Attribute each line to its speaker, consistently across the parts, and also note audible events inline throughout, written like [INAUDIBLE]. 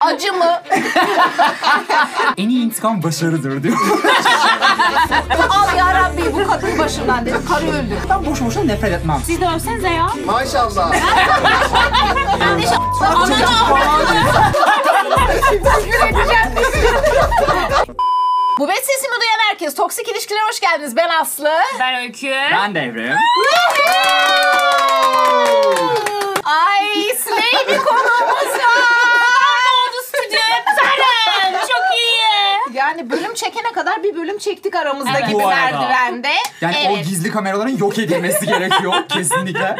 Speaker 1: Acı mı?
Speaker 2: En iyi intikam başarıdır diyor.
Speaker 1: Al yarabbi bu kadın başımdan dedi. Karı öldü.
Speaker 2: [LAUGHS] ben boş boşuna nefret etmem.
Speaker 3: Siz de övsenize ya.
Speaker 4: Maşallah.
Speaker 1: Bu bet sesimi duyan herkes. Toksik ilişkilere hoş geldiniz. Ben Aslı.
Speaker 3: Ben Öykü.
Speaker 2: Ben devrim.
Speaker 1: Ay Slay bir konuğumuz
Speaker 3: Oldu stüdyo Serem. Çok iyi.
Speaker 1: Yani bölüm çekene kadar bir bölüm çektik aramızda
Speaker 3: Evet.
Speaker 1: gibi
Speaker 2: Bu arada.
Speaker 1: merdivende.
Speaker 2: Yani
Speaker 1: evet.
Speaker 2: o gizli kameraların yok edilmesi gerekiyor kesinlikle.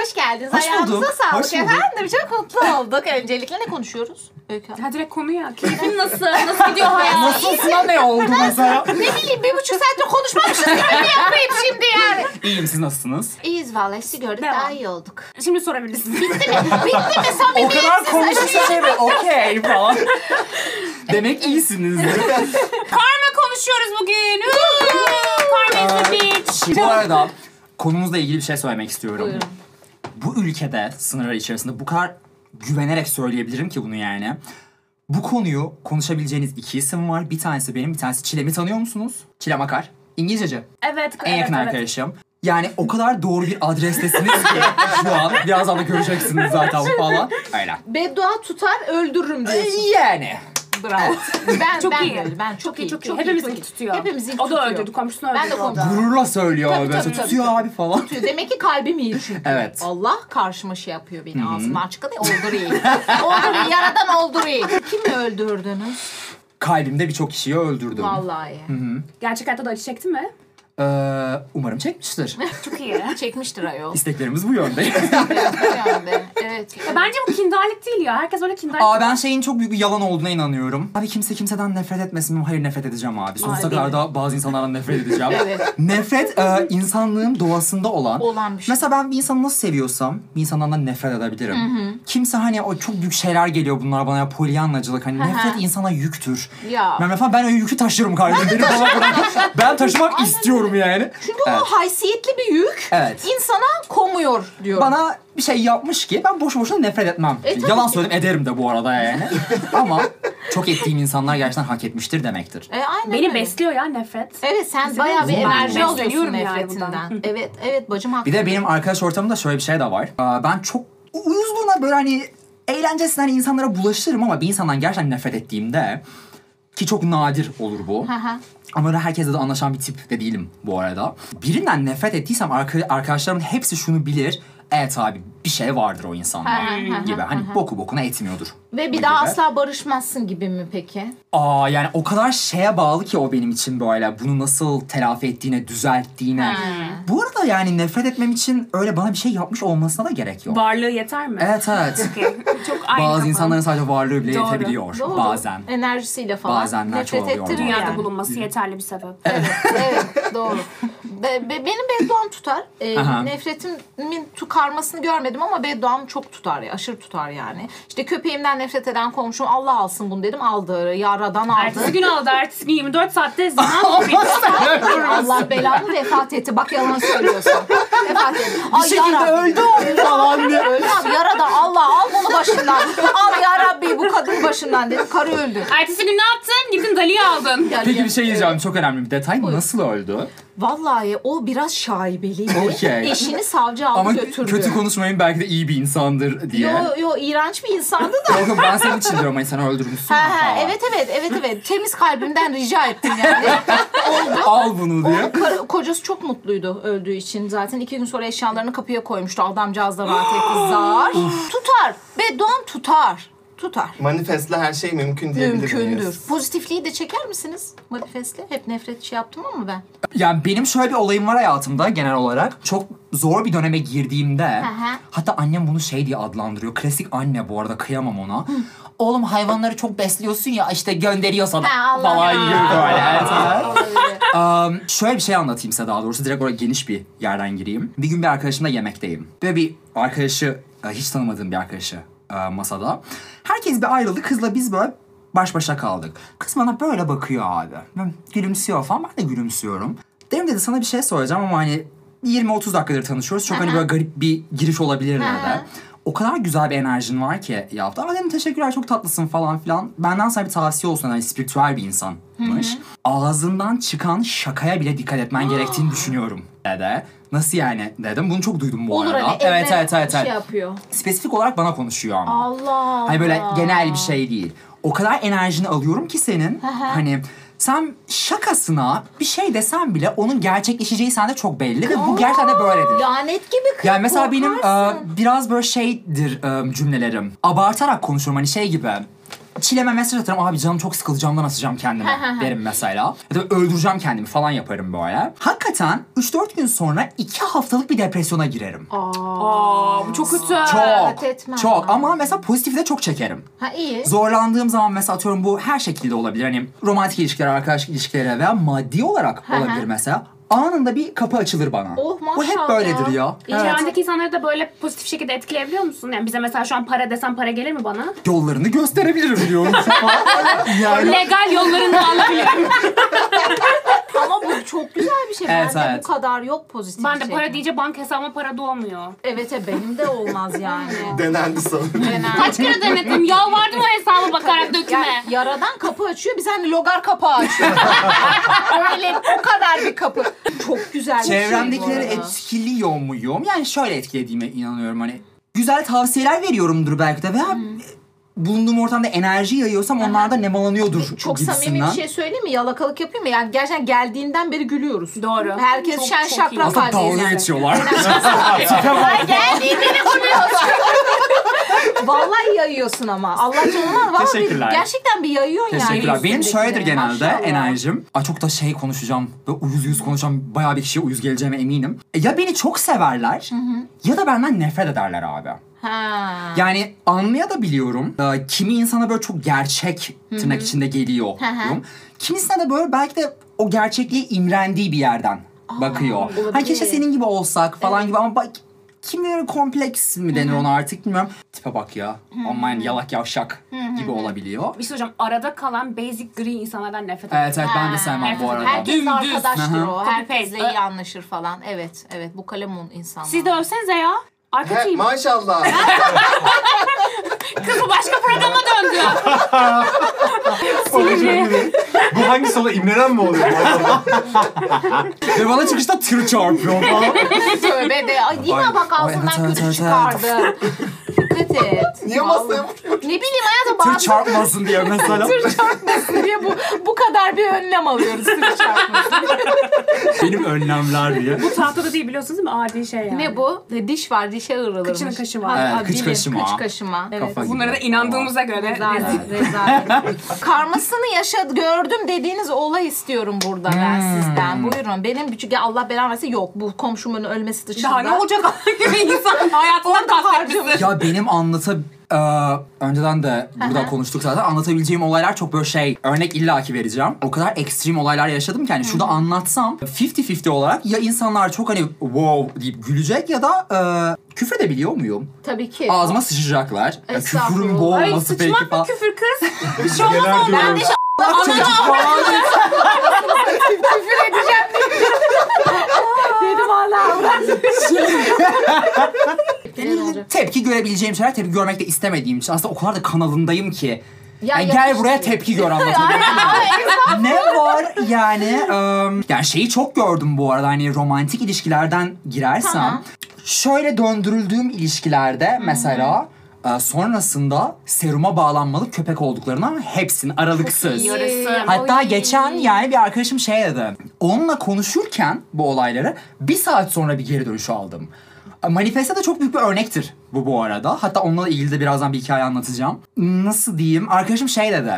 Speaker 1: Hoş geldiniz.
Speaker 2: Hoş
Speaker 1: Ayağınıza
Speaker 2: bulduk.
Speaker 1: sağlık
Speaker 2: Hoş bulduk.
Speaker 1: efendim. Çok mutlu olduk. Öncelikle ne konuşuyoruz? Öykü Hanım.
Speaker 3: Ha direkt konuya. Keyfin [LAUGHS] nasıl? Nasıl gidiyor hayat?
Speaker 2: Nasılsına ne oldu mesela?
Speaker 1: ne bileyim bir buçuk saattir konuşmamışız. Böyle yapmayayım şimdi yani.
Speaker 2: İyiyim siz nasılsınız?
Speaker 1: İyiyiz vallahi sizi gördük
Speaker 3: Devam.
Speaker 1: daha iyi olduk.
Speaker 3: Şimdi sorabilirsiniz.
Speaker 1: Bitti mi? Bitti mi?
Speaker 2: O
Speaker 1: Samimiyetsiz
Speaker 2: kadar konuşunca şey böyle, okey falan. Demek iyisiniz.
Speaker 3: Karma konuşuyoruz bugün. Uuu, Karma is the bitch.
Speaker 2: Bu arada konumuzla ilgili bir şey söylemek istiyorum. Bu ülkede sınırlar içerisinde bu kadar güvenerek söyleyebilirim ki bunu yani. Bu konuyu konuşabileceğiniz iki isim var. Bir tanesi benim, bir tanesi Çilem'i tanıyor musunuz? Çilem Akar. İngilizceci.
Speaker 3: Evet.
Speaker 2: En yakın
Speaker 3: evet, evet.
Speaker 2: arkadaşım. Yani o kadar doğru bir adrestesiniz
Speaker 1: [LAUGHS]
Speaker 2: ki şu an. Birazdan da göreceksiniz zaten falan. Öyle.
Speaker 1: Beddua tutar öldürürüm diyorsun.
Speaker 2: Yani.
Speaker 3: Bravo.
Speaker 1: ben,
Speaker 3: Çok
Speaker 1: ben
Speaker 3: iyi.
Speaker 1: de öyle. Ben çok, iyi.
Speaker 3: Çok, iyi. Hepimiz ilk tutuyor.
Speaker 1: Hepimiz ilk
Speaker 3: O da
Speaker 1: tutuyor.
Speaker 3: öldürdü. Komşusunu öldürdü.
Speaker 1: Ben de
Speaker 3: o da.
Speaker 1: komşu-
Speaker 2: Gururla söylüyor
Speaker 1: Tabii,
Speaker 2: abi.
Speaker 1: tabii, tabii,
Speaker 2: tutuyor
Speaker 1: tabii.
Speaker 2: abi falan.
Speaker 1: Tutuyor. Demek ki kalbim iyi çünkü.
Speaker 2: Evet.
Speaker 1: Allah karşıma şey yapıyor beni. Ağzımı açık da olduruyor. olduruyor. Yaradan olduruyor. Kimi öldürdünüz?
Speaker 2: Kalbimde birçok kişiyi öldürdüm.
Speaker 1: Vallahi.
Speaker 3: Gerçek hayatta da acı çekti mi?
Speaker 2: Ee, umarım çekmiştir.
Speaker 3: Çok iyi. [LAUGHS]
Speaker 1: Çekmiştir ayol.
Speaker 2: İsteklerimiz
Speaker 1: [LAUGHS]
Speaker 2: bu yönde.
Speaker 1: Yani. evet.
Speaker 3: Ya Bence bu kindarlık değil ya. Herkes öyle kindarlık.
Speaker 2: Aa ben şeyin çok büyük bir yalan olduğuna inanıyorum. Abi kimse kimseden nefret etmesin. Hayır nefret edeceğim abi. Sonsuza
Speaker 3: Abi.
Speaker 2: kadar da bazı insanlardan nefret edeceğim.
Speaker 1: [LAUGHS] Evet.
Speaker 2: Nefret e, insanlığın doğasında olan.
Speaker 1: Olan bir şey.
Speaker 2: Mesela ben bir insanı nasıl seviyorsam bir insandan da nefret edebilirim. Kimse hani o çok büyük şeyler geliyor bunlar bana ya polyanlacılık. Hani nefret insana yüktür.
Speaker 1: Ya.
Speaker 2: Ben falan ben öyle yükü taşırım kardeşim. Beni bana bırakın.
Speaker 1: [LAUGHS]
Speaker 2: Ben taşımak istiyorum yani.
Speaker 1: Çünkü o haysiyetli bir yük
Speaker 2: Evet.
Speaker 1: insana komuyor diyor.
Speaker 2: Bana bir şey yapmış ki ben boş boşuna nefret etmem.
Speaker 1: E, tabii
Speaker 2: Yalan
Speaker 1: ki.
Speaker 2: söyledim ederim de bu
Speaker 1: [LAUGHS]
Speaker 2: arada yani. Ama çok ettiğim insanlar gerçekten hak etmiştir demektir.
Speaker 1: E, aynen
Speaker 3: Beni
Speaker 1: öyle.
Speaker 3: besliyor ya nefret.
Speaker 2: E-
Speaker 1: Evet sen bayağı bir
Speaker 2: Ben
Speaker 1: enerji
Speaker 2: besleniyorum
Speaker 1: alıyorsun
Speaker 3: yani
Speaker 1: nefretinden.
Speaker 3: bundan.
Speaker 1: evet evet bacım haklı.
Speaker 2: Bir de benim arkadaş ortamımda şöyle bir şey de var. Aa, Ben çok uyuzluğuna böyle hani eğlencesine hani insanlara bulaşırım ama bir insandan gerçekten nefret ettiğimde ki çok nadir olur bu.
Speaker 1: hı.
Speaker 2: Ama öyle herkese de anlaşan bir tip de değilim bu arada. Birinden nefret ettiysem arka- arkadaşlarımın hepsi şunu bilir. Evet abi bir şey vardır o insanda
Speaker 1: Hı hı hı
Speaker 2: gibi. Hani boku bokuna etmiyordur.
Speaker 1: Ve
Speaker 2: Bu
Speaker 1: bir daha
Speaker 2: gibi.
Speaker 1: asla barışmazsın gibi mi peki?
Speaker 2: Aa yani o kadar şeye bağlı ki o benim için böyle bunu nasıl telafi ettiğine, düzelttiğine. Bu arada yani nefret etmem için öyle bana bir şey yapmış olmasına da gerek yok.
Speaker 3: Varlığı yeter mi?
Speaker 1: [LAUGHS]
Speaker 2: evet evet.
Speaker 3: Okey. Çok aynı
Speaker 2: Bazı
Speaker 3: kafa.
Speaker 2: insanların sadece varlığı bile
Speaker 3: Doğru.
Speaker 2: yetebiliyor
Speaker 1: Doğru.
Speaker 2: bazen.
Speaker 1: Enerjisiyle falan.
Speaker 2: Bazenler
Speaker 1: Nefret
Speaker 2: çoğalıyor
Speaker 1: ettiriyor
Speaker 3: dünyada
Speaker 1: [LAUGHS] yani.
Speaker 3: bulunması yeterli bir sebep.
Speaker 1: evet doğru. Be- be- benim bedduam tutar. Ee,
Speaker 2: Aha.
Speaker 1: nefretimin tukarmasını görmedim ama bedduam çok tutar. ya, Aşırı tutar yani. İşte köpeğimden nefret eden komşum Allah alsın bunu dedim. Aldı. Yaradan aldı.
Speaker 3: Ertesi gün aldı. Ertesi gün 24 saatte
Speaker 2: [LAUGHS]
Speaker 3: zaman
Speaker 1: Allah belanı vefat etti. Bak yalan söylüyorsun. vefat etti. Ay,
Speaker 2: Bir şekilde
Speaker 1: yarabbim.
Speaker 2: öldü o falan diye.
Speaker 1: Öldü abi yarada Allah al bunu başından. al ya Rabbi bu kadın başından dedim. Karı öldü.
Speaker 3: Ertesi gün ne yaptın? Gittin Dali'yi aldın.
Speaker 1: Yani-
Speaker 2: Peki bir şey diyeceğim çok önemli bir detay. Nasıl öldü?
Speaker 1: Vallahi o biraz şaibeliydi.
Speaker 2: Okey.
Speaker 1: Eşini savcı aldı
Speaker 2: Ama
Speaker 1: götürdü.
Speaker 2: kötü konuşmayın belki de iyi bir insandır diye.
Speaker 1: Yo yo iğrenç bir insandı da.
Speaker 2: Yok yok, ben senin için diyorum hani sen öldürmüşsün.
Speaker 1: Ha,
Speaker 2: ya
Speaker 1: ha,
Speaker 2: falan.
Speaker 1: evet evet evet evet temiz kalbimden rica ettim yani.
Speaker 2: [LAUGHS] Al bunu diye.
Speaker 1: Karı- kocası çok mutluydu öldüğü için zaten iki gün sonra eşyalarını kapıya koymuştu adamcağız da rahat etti zar. tutar beddon tutar tutar.
Speaker 4: Manifestle her şey mümkün diyebilir
Speaker 1: Mümkündür.
Speaker 4: miyiz?
Speaker 1: Pozitifliği de çeker misiniz manifestle? Hep nefret şey yaptım ama ben.
Speaker 2: Yani benim şöyle bir olayım var hayatımda genel olarak. Çok zor bir döneme girdiğimde
Speaker 1: hı.
Speaker 2: hatta annem bunu şey diye adlandırıyor. Klasik anne bu arada kıyamam ona. Oğlum hayvanları çok besliyorsun ya işte gönderiyor sana
Speaker 1: Ha, Allah ya.
Speaker 2: falan gibi böyle. Evet, evet.
Speaker 1: Olabilir.
Speaker 2: Um, şöyle bir şey anlatayım size daha doğrusu. Direkt oraya geniş bir yerden gireyim. Bir gün bir arkadaşımla yemekteyim. Ve bir arkadaşı, e, hiç tanımadığım bir arkadaşı e, masada. Herkes bir ayrıldı. Kızla biz böyle baş başa kaldık. Kız bana böyle bakıyor abi. Ben Gülümsüyor falan. Ben de gülümsüyorum. Derim dedi sana bir şey soracağım ama hani 20-30 dakikadır tanışıyoruz. Çok hani böyle garip bir giriş olabilir
Speaker 1: Aha.
Speaker 2: nerede. o kadar güzel bir enerjin var ki ya hafta. Aa dedim teşekkürler çok tatlısın falan filan. Benden sana bir tavsiye olsun. Hani spiritüel bir insanmış. Ağzından çıkan şakaya bile dikkat
Speaker 1: [GASPS]
Speaker 2: etmen gerektiğini düşünüyorum dedi. Nasıl yani dedim. Bunu çok duydum bu
Speaker 1: Olur
Speaker 2: arada.
Speaker 1: hani
Speaker 2: evet
Speaker 1: evde
Speaker 2: evet evet.
Speaker 1: şey
Speaker 2: evet.
Speaker 1: yapıyor.
Speaker 2: Spesifik olarak bana konuşuyor ama.
Speaker 1: Allah Allah.
Speaker 2: Hani böyle genel bir şey değil. O kadar enerjini alıyorum ki senin. hani sen şakasına bir şey desen bile onun gerçekleşeceği sende çok belli ve bu gerçekten de böyledir.
Speaker 1: Lanet gibi kız.
Speaker 2: Yani mesela benim
Speaker 1: korkarsın.
Speaker 2: e, biraz böyle şeydir e, cümlelerim. Abartarak konuşurum hani şey gibi. Çileme mesaj atarım abi canım çok sıkıldı camdan asacağım kendimi derim mesela. Ya da öldüreceğim kendimi falan yaparım böyle. Hakikaten 3-4 gün sonra 2 haftalık bir depresyona girerim.
Speaker 3: Aa, bu çok kötü.
Speaker 1: rahat etmem.
Speaker 2: çok çok ama mesela pozitifi de çok çekerim.
Speaker 1: Ha iyi.
Speaker 2: Zorlandığım zaman mesela atıyorum bu her şekilde olabilir. Hani romantik ilişkiler, arkadaş ilişkilere veya maddi olarak olabilir mesela. Anında bir kapı açılır bana.
Speaker 1: Oh,
Speaker 2: Bu hep
Speaker 1: maşallah.
Speaker 2: böyledir ya. Evet.
Speaker 5: İçerideki insanları da böyle pozitif şekilde etkileyebiliyor musun? Yani bize mesela şu an para desem para gelir mi bana?
Speaker 2: Yollarını
Speaker 1: [LAUGHS]
Speaker 2: gösterebilirim diyorum.
Speaker 1: şey
Speaker 2: yani.
Speaker 3: Legal
Speaker 5: [LAUGHS]
Speaker 3: yollarını alabilir.
Speaker 1: Ama bu çok güzel bir şey.
Speaker 2: Evet,
Speaker 1: Bende
Speaker 2: evet.
Speaker 1: bu kadar yok pozitif
Speaker 5: Ben de
Speaker 1: şey.
Speaker 5: para deyince banka hesabıma para doğmuyor.
Speaker 1: Evet e, benim de olmaz
Speaker 5: [LAUGHS]
Speaker 1: yani.
Speaker 4: Denendi sanırım.
Speaker 1: Genel.
Speaker 5: Kaç kere denedim? Yalvardım o hesaba bakarak dökme.
Speaker 1: Yani yaradan kapı açıyor, biz hani logar kapağı açıyoruz. [LAUGHS] Öyle o kadar bir kapı. Çok güzel bir
Speaker 2: Çevremdekileri
Speaker 1: şey bu arada.
Speaker 2: etkiliyor muyum? Yani şöyle etkilediğime inanıyorum hani. Güzel tavsiyeler veriyorumdur belki de veya bulunduğum ortamda enerji yayıyorsam onlar da nemalanıyordur
Speaker 1: Çok
Speaker 2: gibisinden.
Speaker 1: samimi bir şey söyleyeyim mi? Yalakalık yapayım mı? Yani gerçekten geldiğinden beri gülüyoruz.
Speaker 3: Doğru.
Speaker 1: Herkes
Speaker 3: Çok-
Speaker 1: şen
Speaker 3: çok iyi.
Speaker 1: şakrak
Speaker 2: Aslında
Speaker 1: haldeyiz.
Speaker 2: dalga geçiyorlar.
Speaker 1: Vallahi yayıyorsun ama. Allah canına vallahi
Speaker 2: Teşekkürler.
Speaker 1: gerçekten bir yayıyorsun yani.
Speaker 2: Teşekkürler. Benim
Speaker 1: üstündekini.
Speaker 2: şöyledir genelde
Speaker 1: Maşallah.
Speaker 2: enerjim. Aa, çok da şey konuşacağım. Böyle uyuz uyuz konuşacağım. Bayağı bir kişiye uyuz geleceğime eminim. E, Ya beni çok severler ya da benden nefret ederler abi.
Speaker 1: Ha.
Speaker 2: Yani anlaya da biliyorum. Ee, Kimi insana böyle çok gerçek tırnak içinde geliyor. diyorum. Kimisine de böyle belki de o gerçekliğe imrendiği bir yerden bakıyor. Hani keşke senin gibi olsak falan gibi ama bak kimileri kompleks mi denir ona artık bilmiyorum. Tipe bak ya. Aman yalak yavşak gibi olabiliyor.
Speaker 5: Bir şey hocam arada kalan basic gri insanlardan nefret ediyorum.
Speaker 2: Evet evet ben de sevmem bu
Speaker 5: Ha,
Speaker 2: arada.
Speaker 1: Herkes
Speaker 3: Dümdüz.
Speaker 1: arkadaştır
Speaker 2: Aha.
Speaker 1: o.
Speaker 5: Copy
Speaker 1: Herkesle
Speaker 5: paste.
Speaker 1: iyi anlaşır falan. Evet, evet. Bu kalemun insanlar.
Speaker 5: Siz de övsenize ya.
Speaker 4: He,
Speaker 5: Arkacıyım.
Speaker 4: maşallah.
Speaker 5: Kız bu başka programa
Speaker 2: [LAUGHS]
Speaker 5: döndü.
Speaker 6: Bu hangi sola imrenen mi oluyor?
Speaker 2: Ve bana çıkışta tır çarpıyor
Speaker 5: [LAUGHS]
Speaker 2: falan.
Speaker 1: Tövbe de. Ay, yine bak
Speaker 2: Ay,
Speaker 1: ağzından
Speaker 2: evet,
Speaker 1: kötü
Speaker 2: evet,
Speaker 1: çıkardı. Dikkat et.
Speaker 4: Niye masaya vuruyor?
Speaker 1: Ne bileyim hayatım
Speaker 2: tır
Speaker 1: bazen
Speaker 2: çarpmasın diye mesela.
Speaker 1: diye bu, bu kadar bir önlem alıyoruz sırf çarpmasın.
Speaker 6: Benim önlemler diye.
Speaker 5: Bu tahtada değil biliyorsunuz değil mi? Adi şey yani.
Speaker 1: ne bu? Diş var, dişe ığrılırmış.
Speaker 5: Kıçın kaşı var.
Speaker 1: Ha,
Speaker 2: Evet, kıç
Speaker 1: dilim,
Speaker 2: kaşıma.
Speaker 1: Kıç kaşıma. Evet.
Speaker 2: Kafa gibi.
Speaker 5: Bunlara da inandığımıza göre.
Speaker 1: Rezalet, rezalet. Karmasını yaşadı, gördüm dediğiniz olay istiyorum burada ben
Speaker 2: Hmm.
Speaker 1: sizden. Buyurun. Benim küçük ya Allah belanı versin yok. Bu komşumun ölmesi dışında.
Speaker 5: Daha ne olacak [LAUGHS] gibi insan hayatından kastetmişsin.
Speaker 2: Ya benim anlata Ee, önceden de burada konuştuk zaten anlatabileceğim olaylar çok böyle şey örnek illaki vereceğim. O kadar ekstrem olaylar yaşadım ki hani şurada anlatsam 50-50 olarak ya insanlar çok hani wow deyip gülecek ya da e, küfür edebiliyor muyum?
Speaker 1: Tabii ki.
Speaker 2: Ağzıma sıçacaklar. Ya
Speaker 1: Estağfurullah.
Speaker 2: Küfürün bu
Speaker 5: Ay
Speaker 2: olması belki
Speaker 5: sıçmak mı
Speaker 2: falan.
Speaker 3: [LAUGHS]
Speaker 5: küfür kız?
Speaker 6: Bir şey olmaz
Speaker 1: Ben de ş-
Speaker 2: Bak çocuk falan.
Speaker 1: küfür edeceğim diye. Dedim Allah
Speaker 2: [LAUGHS] Yani Şey, tepki görebileceğim şeyler tepki görmek de istemediğim için aslında o kadar da kanalındayım ki.
Speaker 1: Ya
Speaker 2: Yani gel
Speaker 1: yakıştı.
Speaker 2: buraya tepki gör anlatabiliyor muyum? ne var yani? ım, yani şeyi çok gördüm bu arada hani romantik ilişkilerden girersem. Şöyle döndürüldüğüm ilişkilerde mesela e, sonrasında seruma bağlanmalı köpek olduklarına hepsinin aralıksız.
Speaker 5: Yarısı.
Speaker 2: Hatta geçen yani bir arkadaşım şey dedi. Onunla konuşurken bu olayları bir saat sonra bir geri dönüş aldım. Manifeste de çok büyük bir örnektir bu bu arada. Hatta onunla ilgili de birazdan bir hikaye anlatacağım. Nasıl diyeyim? Arkadaşım şey dedi.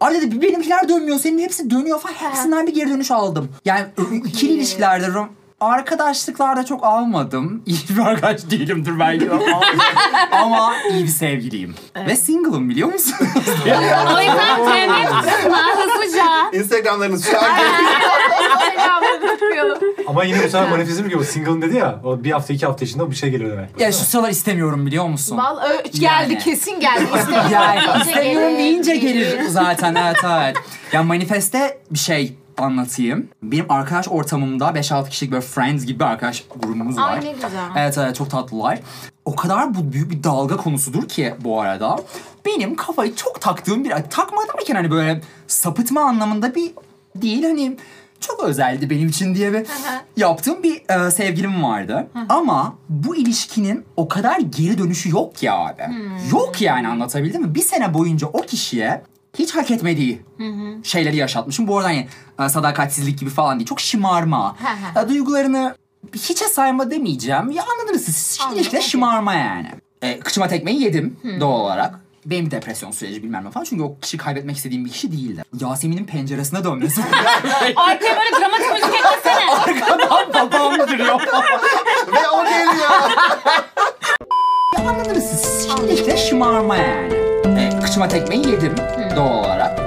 Speaker 2: Abi dedi benimkiler dönmüyor, senin hepsi dönüyor falan. Hepsinden bir geri dönüş aldım. Yani ikili ilişkilerde rom- arkadaşlıklarda çok almadım. [LAUGHS] İyi bir arkadaş değilimdir belki ama, ama iyi bir sevgiliyim. Ve single'ım biliyor musun? [LAUGHS]
Speaker 5: O yüzden temin kısmına hızlıca.
Speaker 4: Instagramlarınız şu an görüyor.
Speaker 6: Ama yine bu sefer manifestim gibi. Single'ın dedi ya. O bir hafta iki hafta içinde bir şey geliyor demek.
Speaker 2: ya şu sıralar istemiyorum biliyor musun?
Speaker 1: Val ö- geldi
Speaker 2: Yani.
Speaker 1: kesin geldi.
Speaker 2: [LAUGHS]
Speaker 1: İstemiyorum
Speaker 2: Yani
Speaker 1: deyince
Speaker 2: istemiyorum
Speaker 1: gelir.
Speaker 2: deyince gelir zaten evet evet. Ya manifeste bir şey anlatayım. Benim arkadaş ortamımda 5-6 kişilik böyle friends gibi bir arkadaş grubumuz var. Ee,
Speaker 1: Ay ne güzel.
Speaker 2: Evet evet çok tatlılar. O kadar bu büyük bir dalga konusudur ki bu arada. Benim kafayı çok taktığım bir... Takma derken hani böyle sapıtma anlamında bir değil hani çok özeldi benim için diye ve yaptığım bir e, sevgilim vardı. Ama bu ilişkinin o kadar geri dönüşü yok ya abi.
Speaker 1: Hmm.
Speaker 2: Yok yani anlatabildim mi? Bir sene boyunca o kişiye hiç hak etmediği şeyleri yaşatmışım. Bu arada hani e, sadakatsizlik gibi falan değil. Çok şımarma.
Speaker 1: Hı
Speaker 2: E, Duygularını hiçe sayma demeyeceğim. Ya anladınız siz.
Speaker 1: Anladım,
Speaker 2: İlişkiler
Speaker 1: okey.
Speaker 2: şımarma yani. Hmm. E, kıçıma tekmeyi yedim doğal olarak. Benim bir depresyon süreci bilmem ne falan. Çünkü o kişi kaybetmek istediğim bir kişi değildi. Yasemin'in penceresine [LAUGHS] dönmesi.
Speaker 3: Arkaya böyle dramatik müzik eklesene.
Speaker 2: Arkadan babam duruyor.
Speaker 4: Ve o geliyor.
Speaker 2: Ya anladınız siz. Siz İlişkiler şımarma yani. E, kıçıma tekmeyi yedim doğal olarak.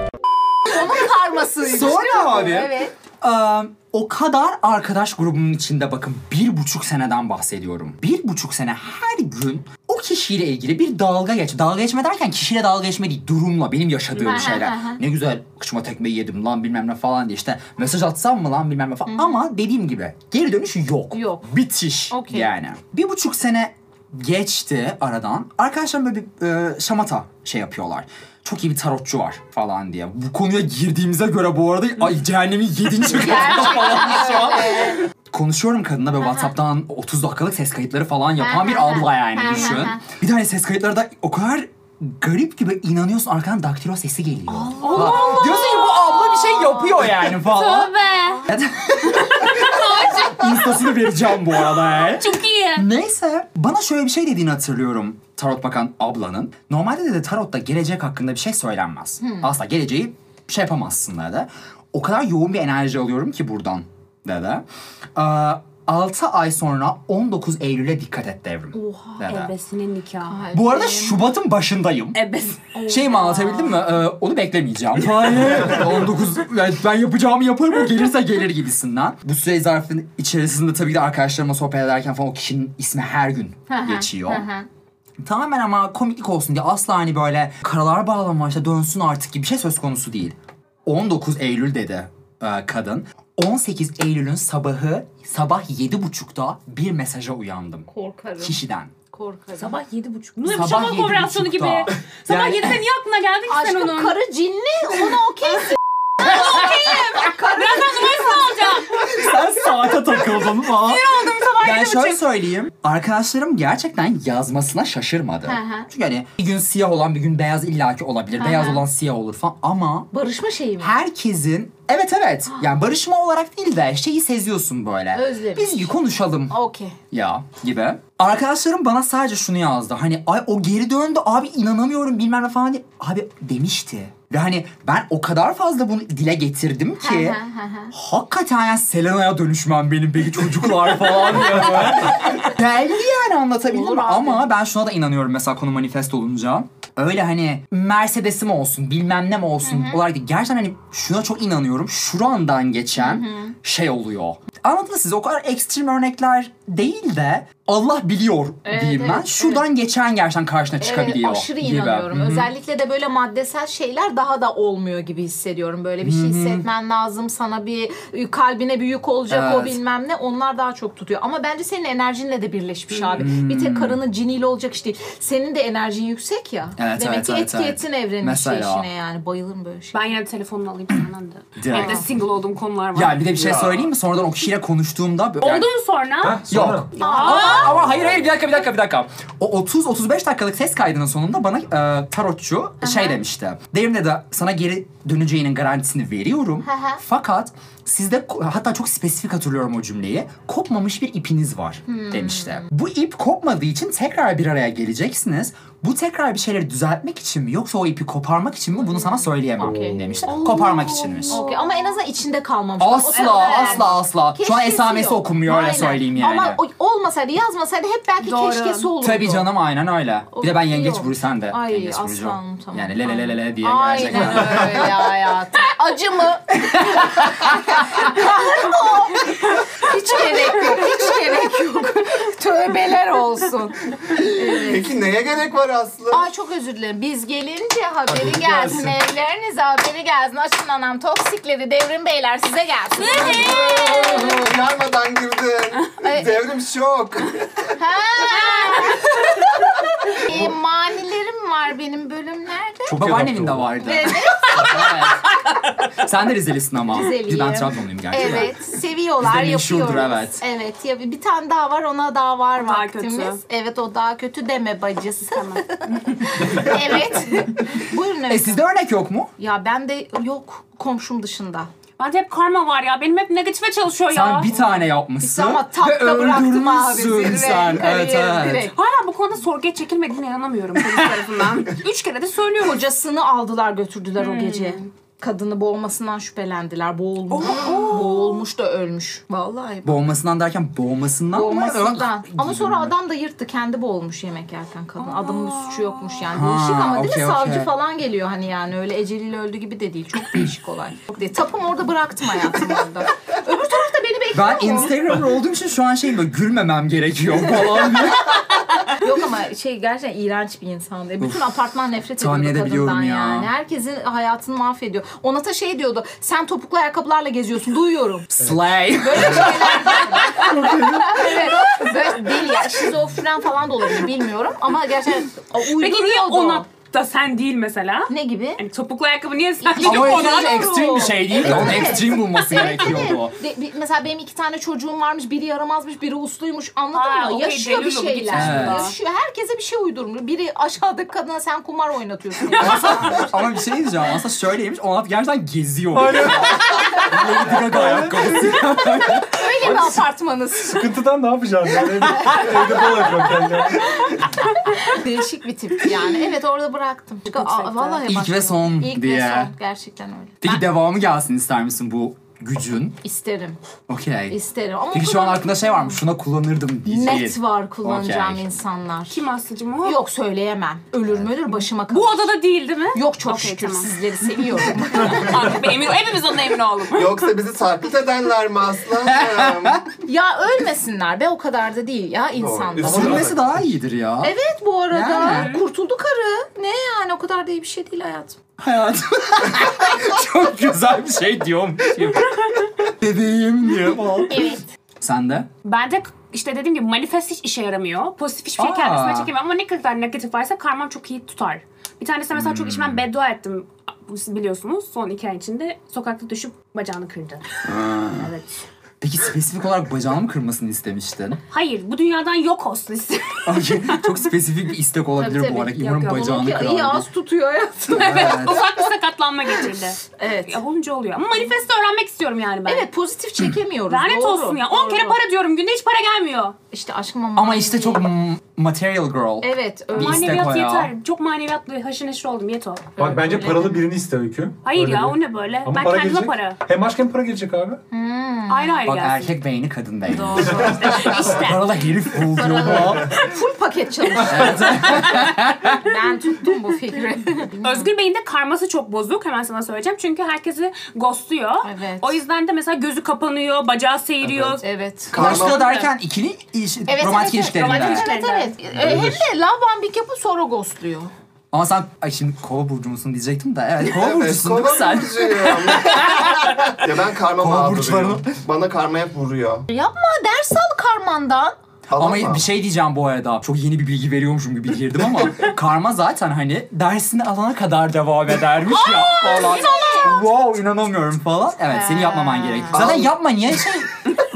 Speaker 1: Onun karmasıymış.
Speaker 2: Sonra abi.
Speaker 1: Evet.
Speaker 2: Ee, o kadar arkadaş grubunun içinde bakın bir buçuk seneden bahsediyorum. Bir buçuk sene her gün o kişiyle ilgili bir dalga geç. Dalga geçme derken kişiyle dalga geçme değil durumla benim yaşadığım şeyler. ne güzel kıçıma tekmeyi yedim lan bilmem ne falan diye işte mesaj atsam mı lan bilmem ne falan. Ama dediğim gibi geri dönüş yok.
Speaker 1: Yok.
Speaker 2: Bitiş
Speaker 1: Okey.
Speaker 2: yani. Bir buçuk sene geçti aradan. Arkadaşlar böyle bir e, şamata şey yapıyorlar. Çok iyi bir tarotçu var falan diye. Bu konuya girdiğimize göre bu arada ay cehennemin yedinci katında falanız şu an. Konuşuyorum kadınla böyle WhatsApp'tan 30 dakikalık ses kayıtları falan yapan bir abla yani düşün. Bir tane ses kayıtları da o kadar garip gibi inanıyorsun arkadan daktilo sesi geliyor. Allah Allah. Diyorsun ki bu abla bir şey yapıyor yani falan.
Speaker 3: Tövbe.
Speaker 2: [LAUGHS] İnstasını vereceğim bu arada. yani.
Speaker 3: Çok iyi.
Speaker 2: Neyse bana şöyle bir şey dediğini hatırlıyorum tarot bakan ablanın. Normalde de tarotta gelecek hakkında bir şey söylenmez.
Speaker 3: Hmm.
Speaker 2: Asla geleceği şey yapamazsın dedi. O kadar yoğun bir enerji alıyorum ki buradan dedi. Ee, 6 ay sonra 19 Eylül'e dikkat et devrim. Oha.
Speaker 5: Ebesinin nikahı.
Speaker 2: Bu arada Şubat'ın başındayım.
Speaker 5: Ebes.
Speaker 2: Şey mi anlatabildim mi? Ee, onu beklemeyeceğim. Hayır. 19 yani ben yapacağımı yaparım o gelirse gelir gibisinden. Bu süre zarfının içerisinde tabii ki de arkadaşlarıma sohbet ederken falan o kişinin ismi her gün geçiyor. Tamamen ama komiklik olsun diye asla hani böyle karalar bağlama işte dönsün artık gibi bir şey söz konusu değil. 19 Eylül dedi e, kadın. 18 Eylül'ün sabahı sabah 7.30'da bir mesaja uyandım.
Speaker 1: Korkarım.
Speaker 2: Kişiden.
Speaker 1: Korkarım.
Speaker 5: Sabah yedi buçuk.
Speaker 3: Bunu
Speaker 2: Sabah
Speaker 3: yapışan
Speaker 2: yedi
Speaker 3: kooperasyonu gibi.
Speaker 2: buçukta.
Speaker 3: Sabah
Speaker 2: Yani-
Speaker 3: 7'de niye aklına geldi ki sen
Speaker 1: Aşkım
Speaker 3: onun?
Speaker 1: karı cinli ona okeysin.
Speaker 3: Birazdan numarasını alacağım.
Speaker 2: Sen saate takıldın mı? Ben şöyle söyleyeyim. Arkadaşlarım gerçekten yazmasına şaşırmadı. Çünkü hani bir gün siyah olan bir gün beyaz illaki olabilir. Beyaz olan siyah olur falan ama
Speaker 1: Barışma şeyi mi?
Speaker 2: herkesin evet evet yani barışma olarak değil de şeyi seziyorsun böyle.
Speaker 1: Özlemiş.
Speaker 2: Biz bir konuşalım
Speaker 1: Okey.
Speaker 2: ya gibi. Arkadaşlarım bana sadece şunu yazdı. Hani ay o geri döndü abi inanamıyorum bilmem ne falan diye. Abi demişti. Ve hani ben o kadar fazla bunu dile getirdim ki hakikaten yani Selena'ya dönüşmem benim peki çocuklar falan diye böyle. Belli yani anlatabildim
Speaker 1: Olur
Speaker 2: mi?
Speaker 1: abi.
Speaker 2: Ama ben şuna da inanıyorum mesela konu manifest olunca. Öyle hani Mercedes'im olsun bilmem ne mi olsun olarak değil. Gerçekten hani şuna çok inanıyorum. Şurandan geçen şey oluyor. Anladınız size o kadar ekstrem örnekler değil de Allah biliyor diyeyim ben.
Speaker 1: evet,
Speaker 2: Şuradan geçen gerçekten karşına çıkabiliyor.
Speaker 1: Evet, aşırı
Speaker 2: gibi.
Speaker 1: inanıyorum.
Speaker 2: Hı hı.
Speaker 1: Özellikle de böyle maddesel şeyler daha da olmuyor gibi hissediyorum. Böyle bir şey hissetmen lazım. Sana bir kalbine bir yük olacak o
Speaker 2: Evet.
Speaker 1: bilmem ne. Onlar daha çok tutuyor. Ama bence senin enerjinle de birleşmiş abi. Bir tek karının ciniyle olacak iş değil. Senin de enerjin yüksek ya.
Speaker 2: Evet,
Speaker 1: Demek
Speaker 2: evet,
Speaker 1: ki
Speaker 2: evet,
Speaker 1: etki
Speaker 2: evet.
Speaker 1: etsin evrenin
Speaker 2: Mesela.
Speaker 1: işine yani. Bayılırım böyle şey.
Speaker 5: Ben yine telefonunu alayım senden de.
Speaker 2: Direkt.
Speaker 5: Evde single olduğum konular var.
Speaker 2: Ya bir de bir şey söyleyeyim mi? Sonradan o kişiyle konuştuğumda... böyle-
Speaker 5: Oldu mu sonra?
Speaker 6: Ha, sonra.
Speaker 2: Yok. Ama, ama hayır hayır bir dakika bir dakika bir dakika. O 30-35 dakikalık ses kaydının sonunda bana e, tarotçu şey demişti. Devrim dedi sana geri döneceğinin garantisini veriyorum.
Speaker 1: Aha.
Speaker 2: Fakat sizde ko- hatta çok spesifik hatırlıyorum o cümleyi. Kopmamış bir ipiniz var
Speaker 1: Hmm.
Speaker 2: demişti. Bu ip kopmadığı için tekrar bir araya geleceksiniz. Bu tekrar bir şeyleri düzeltmek için mi yoksa o ipi koparmak için mi bunu sana söyleyemem
Speaker 1: Okey.
Speaker 2: demişti. Koparmak içinmiş.
Speaker 1: Okey. Ama en azından içinde kalmamış.
Speaker 2: Asla
Speaker 1: Evet.
Speaker 2: asla asla. Şu an
Speaker 1: Keşkesi
Speaker 2: esamesi
Speaker 1: yok.
Speaker 2: okunmuyor öyle
Speaker 1: Aynen.
Speaker 2: söyleyeyim yani.
Speaker 1: Ama o- olmasaydı yazmasaydı hep belki
Speaker 5: Doğru.
Speaker 1: keşkesi olurdu.
Speaker 2: Tabii canım aynen öyle. Bir de ben yengeç
Speaker 1: Yok.
Speaker 2: burcu sen de
Speaker 1: Ay
Speaker 2: yengeç
Speaker 1: aslanım
Speaker 2: burcu.
Speaker 1: tamam.
Speaker 2: Yani le le le le le diye
Speaker 1: Aynen
Speaker 2: gerçekten.
Speaker 1: öyle hayatım. acı mı? [LAUGHS] Kahır mı o? Hiç gerek yok. Hiç gerek yok. Tövbeler olsun.
Speaker 4: Peki neye gerek var Aslı?
Speaker 1: Ay çok özür dilerim. Biz gelince haberi gelsin. Evlerinize haberi gelsin. Açın anam toksikleri devrim beyler size gelsin.
Speaker 4: Yarmadan girdin.
Speaker 1: Ay.
Speaker 4: Devrim şok.
Speaker 1: [LAUGHS] Ee, manilerim var benim bölümlerde.
Speaker 6: Çok
Speaker 2: Babaannemin de
Speaker 6: var.
Speaker 2: vardı.
Speaker 1: Evet.
Speaker 2: Sen de Rizelisin ama.
Speaker 1: Rizeliyim.
Speaker 2: Ben Trabzonluyum gerçekten.
Speaker 1: Evet, seviyorlar,
Speaker 2: Bizde meşhurdur,
Speaker 1: yapıyoruz.
Speaker 2: evet.
Speaker 1: Evet, ya bir bir tane daha var, ona daha var
Speaker 3: daha
Speaker 1: vaktimiz.
Speaker 3: kötü.
Speaker 1: Evet, o daha kötü deme bacısı. [LAUGHS] evet. Buyurun
Speaker 2: E
Speaker 1: öyle.
Speaker 2: sizde örnek yok mu?
Speaker 1: Ya ben de yok komşum dışında.
Speaker 3: Bende hep karma var ya. Benim hep negatife çalışıyor ya.
Speaker 2: Sen bir tane yapmışsın.
Speaker 1: Ama tam
Speaker 2: ve
Speaker 1: da bıraktım abi.
Speaker 2: öldürmüşsün
Speaker 1: zirve,
Speaker 2: sen. Evet
Speaker 1: kariyerim
Speaker 2: evet.
Speaker 1: direkt.
Speaker 3: Hala bu konuda sorguya çekilmediğine inanamıyorum
Speaker 2: [LAUGHS]
Speaker 3: polis tarafından. Üç kere de söylüyorum.
Speaker 1: Kocasını aldılar götürdüler o gece.
Speaker 3: Hmm.
Speaker 1: Kadını boğmasından şüphelendiler. Boğulmuş. Boğulmuş da ölmüş. Vallahi.
Speaker 2: Boğmasından derken boğmasından mı?
Speaker 1: Boğmasından.
Speaker 2: Ö-
Speaker 1: Ama sonra adam da yırttı. Kendi boğulmuş yemek yerken kadın. Adamın bir suçu yokmuş yani.
Speaker 2: Ha,
Speaker 1: Değişik ama değil
Speaker 2: okey,
Speaker 1: mi? Savcı
Speaker 2: okey.
Speaker 1: falan geliyor hani yani. Öyle eceliyle öldü gibi de değil. Çok değişik olay. Çok değil. Tapım orada bıraktım hayatım orada. Öbür tarafta beni bekliyor.
Speaker 2: Ben Instagram'da olduğum için şu an şeyim böyle gülmemem gerekiyor
Speaker 1: [LAUGHS]
Speaker 2: falan.
Speaker 1: Yok ama şey gerçekten iğrenç bir insandı. Bütün apartman nefret ediyordu
Speaker 2: tahmin edebiliyorum
Speaker 1: kadından
Speaker 2: ya.
Speaker 1: yani. Herkesin hayatını mahvediyor. Ona da şey diyordu. Sen topuklu ayakkabılarla geziyorsun.
Speaker 2: [LAUGHS]
Speaker 1: Duyuyorum.
Speaker 2: Slay.
Speaker 1: Evet. Böyle değil ya. Şizofren falan da olabilir bilmiyorum. Ama gerçekten uyduruyordu.
Speaker 3: Peki niye ona da sen değil mesela?
Speaker 1: Ne gibi?
Speaker 3: Yani topuklu ayakkabı niye sen [LAUGHS] değil?
Speaker 2: Ama
Speaker 1: Ona
Speaker 2: ekstrem ekstrem bir şey değil de onun
Speaker 1: Evet.
Speaker 2: ekstrem bulması gerekiyordu. o.
Speaker 1: De- bir- mesela benim iki tane çocuğum varmış. Biri yaramazmış, biri usluymuş. Anladın
Speaker 3: Ha,
Speaker 1: mı?
Speaker 3: okey,
Speaker 1: Yaşıyor bir
Speaker 3: deliriyor bu, gitmiş
Speaker 1: şeyler.
Speaker 2: burada.
Speaker 1: Yaşıyor. Herkese bir şey uydurmuş. Biri aşağıdaki kadına sen kumar [LAUGHS] oynatıyorsun.
Speaker 2: Ama bir şey diyeceğim. Aslında şöyleymiş. Onat gerçekten geziyor. Lady Gaga ayakkabısı.
Speaker 1: Öyle mi apartmanız?
Speaker 6: Sıkıntıdan ne yapacağız? Yani? Evde- Evde bol yapıyorum kendime.
Speaker 1: [LAUGHS] Değişik bir tipti yani. Evet orada bıraktım. Aa, vallahi
Speaker 2: İlk
Speaker 1: başka-
Speaker 2: ve son
Speaker 1: İlk
Speaker 2: diye.
Speaker 1: ve son. Gerçekten öyle.
Speaker 2: Peki devamı gelsin ister misin bu gücün?
Speaker 1: İsterim.
Speaker 2: Okey.
Speaker 1: isterim. Ama
Speaker 2: Peki şu an
Speaker 1: kullan-
Speaker 2: aklında şey var mı? Şuna kullanırdım diyeceğin.
Speaker 1: Net var kullanacağım
Speaker 2: Okey.
Speaker 1: insanlar.
Speaker 3: Kim Aslı'cım o?
Speaker 1: Yok söyleyemem. Ölür mü ölür başıma kalır.
Speaker 3: Bu odada değil değil mi?
Speaker 5: [LAUGHS]
Speaker 1: Yok çok
Speaker 3: Okey,
Speaker 1: şükür
Speaker 3: tamam.
Speaker 1: [LAUGHS] sizleri seviyorum.
Speaker 3: Artık bir emin, hepimiz onun emin oğlum.
Speaker 4: Yoksa bizi taklit edenler
Speaker 1: [LAUGHS]
Speaker 4: mi aslanım?
Speaker 1: ya ölmesinler be o kadar da değil ya insanda.
Speaker 4: Üzülme.
Speaker 2: Sürmesi daha iyidir ya.
Speaker 1: Evet bu arada.
Speaker 2: Yani.
Speaker 1: Kurtuldu karı. Ne yani o kadar da iyi bir şey değil hayatım.
Speaker 2: Hayatım. [LAUGHS] Çok güzel bir şey diyormuşum. Bebeğim diye falan.
Speaker 1: Evet.
Speaker 2: Sen de?
Speaker 5: Bende k- işte dediğim gibi manifest hiç işe yaramıyor. Pozitif hiçbir şey
Speaker 2: Aa.
Speaker 5: kendisine çekemiyor ama ne kadar negatif varsa karmam çok iyi tutar. Bir tanesine mesela
Speaker 1: Hmm.
Speaker 5: çok içmem beddua ettim. Siz biliyorsunuz son iki ay içinde sokakta düşüp bacağını kırdı.
Speaker 1: Hmm.
Speaker 5: evet.
Speaker 2: Peki spesifik olarak bacağını mı kırmasını istemiştin?
Speaker 5: Hayır bu dünyadan yok [LAUGHS] olsun istiyorum.
Speaker 2: Okey, Çok spesifik bir istek olabilir
Speaker 1: Tabii,
Speaker 2: bu
Speaker 1: tabii.
Speaker 2: olarak.
Speaker 1: Yok,
Speaker 2: Umarım
Speaker 1: yok.
Speaker 2: bacağını
Speaker 1: Onunki iyi
Speaker 2: kırar.
Speaker 1: az tutuyor hayatım.
Speaker 5: Ufak bir sakatlanma geçirdi.
Speaker 1: [LAUGHS] evet.
Speaker 5: Ya olunca oluyor. Ama manifesti öğrenmek istiyorum yani ben.
Speaker 1: Evet pozitif çekemiyoruz.
Speaker 5: Lanet
Speaker 1: doğru.
Speaker 5: olsun ya. 10 kere
Speaker 1: Doğru.
Speaker 5: para diyorum günde hiç para gelmiyor.
Speaker 1: İşte aşkım ama.
Speaker 2: Ama işte çok m- material girl.
Speaker 1: Evet öyle.
Speaker 2: İstek o
Speaker 5: Maneviyat
Speaker 2: ya.
Speaker 5: yeter. Çok maneviyatlı haşır neşir oldum yet o.
Speaker 6: Bak bence paralı birini iste Öykü.
Speaker 5: Hayır
Speaker 6: Öyle
Speaker 5: ya
Speaker 6: bir-
Speaker 5: o ne böyle?
Speaker 6: Ama
Speaker 5: ben
Speaker 6: para
Speaker 5: kendime
Speaker 6: gelecek.
Speaker 5: para.
Speaker 6: Hem aşk hem para gelecek abi.
Speaker 1: Hmm.
Speaker 5: Ayrı ayrı
Speaker 2: Bak
Speaker 5: gelsin.
Speaker 2: erkek beyni kadın beyni.
Speaker 5: İşte.
Speaker 2: Paralı herif bul diyor bu.
Speaker 1: [LAUGHS] Full paket çalışıyor. ben tuttum bu [LAUGHS] fikri.
Speaker 5: Özgür Bey'in de karması çok bozuk hemen sana söyleyeceğim. Çünkü herkesi ghostluyor.
Speaker 1: Evet.
Speaker 5: O yüzden de mesela gözü kapanıyor, bacağı seyiriyor. [LAUGHS]
Speaker 1: evet.
Speaker 2: Karşıda derken ikili iş,
Speaker 1: Evet,
Speaker 2: romantik
Speaker 1: evet,
Speaker 2: ilişkilerinde.
Speaker 5: romantik ilişkiler.
Speaker 1: Evet evet. E, Hem de Lavan bir yapıp sonra ghostluyor.
Speaker 2: Ama sen ay şimdi kova burcu musun diyecektim de. Evet kova
Speaker 4: Evet,
Speaker 2: burcusun değil mi sen? [LAUGHS]
Speaker 4: burcuyum. ya ben karma
Speaker 2: Kova
Speaker 4: mağduruyum.
Speaker 2: burçlarını-
Speaker 4: Bana karma hep vuruyor.
Speaker 1: Yapma ders al karmandan.
Speaker 4: Tamam
Speaker 2: Ama
Speaker 4: mı?
Speaker 2: bir şey diyeceğim bu arada. Çok yeni bir bilgi veriyormuşum gibi girdim ama karma zaten hani dersini alana kadar devam edermiş ya falan. Wow inanamıyorum falan. Evet seni yapmaman gerek. Zaten yapma niye şey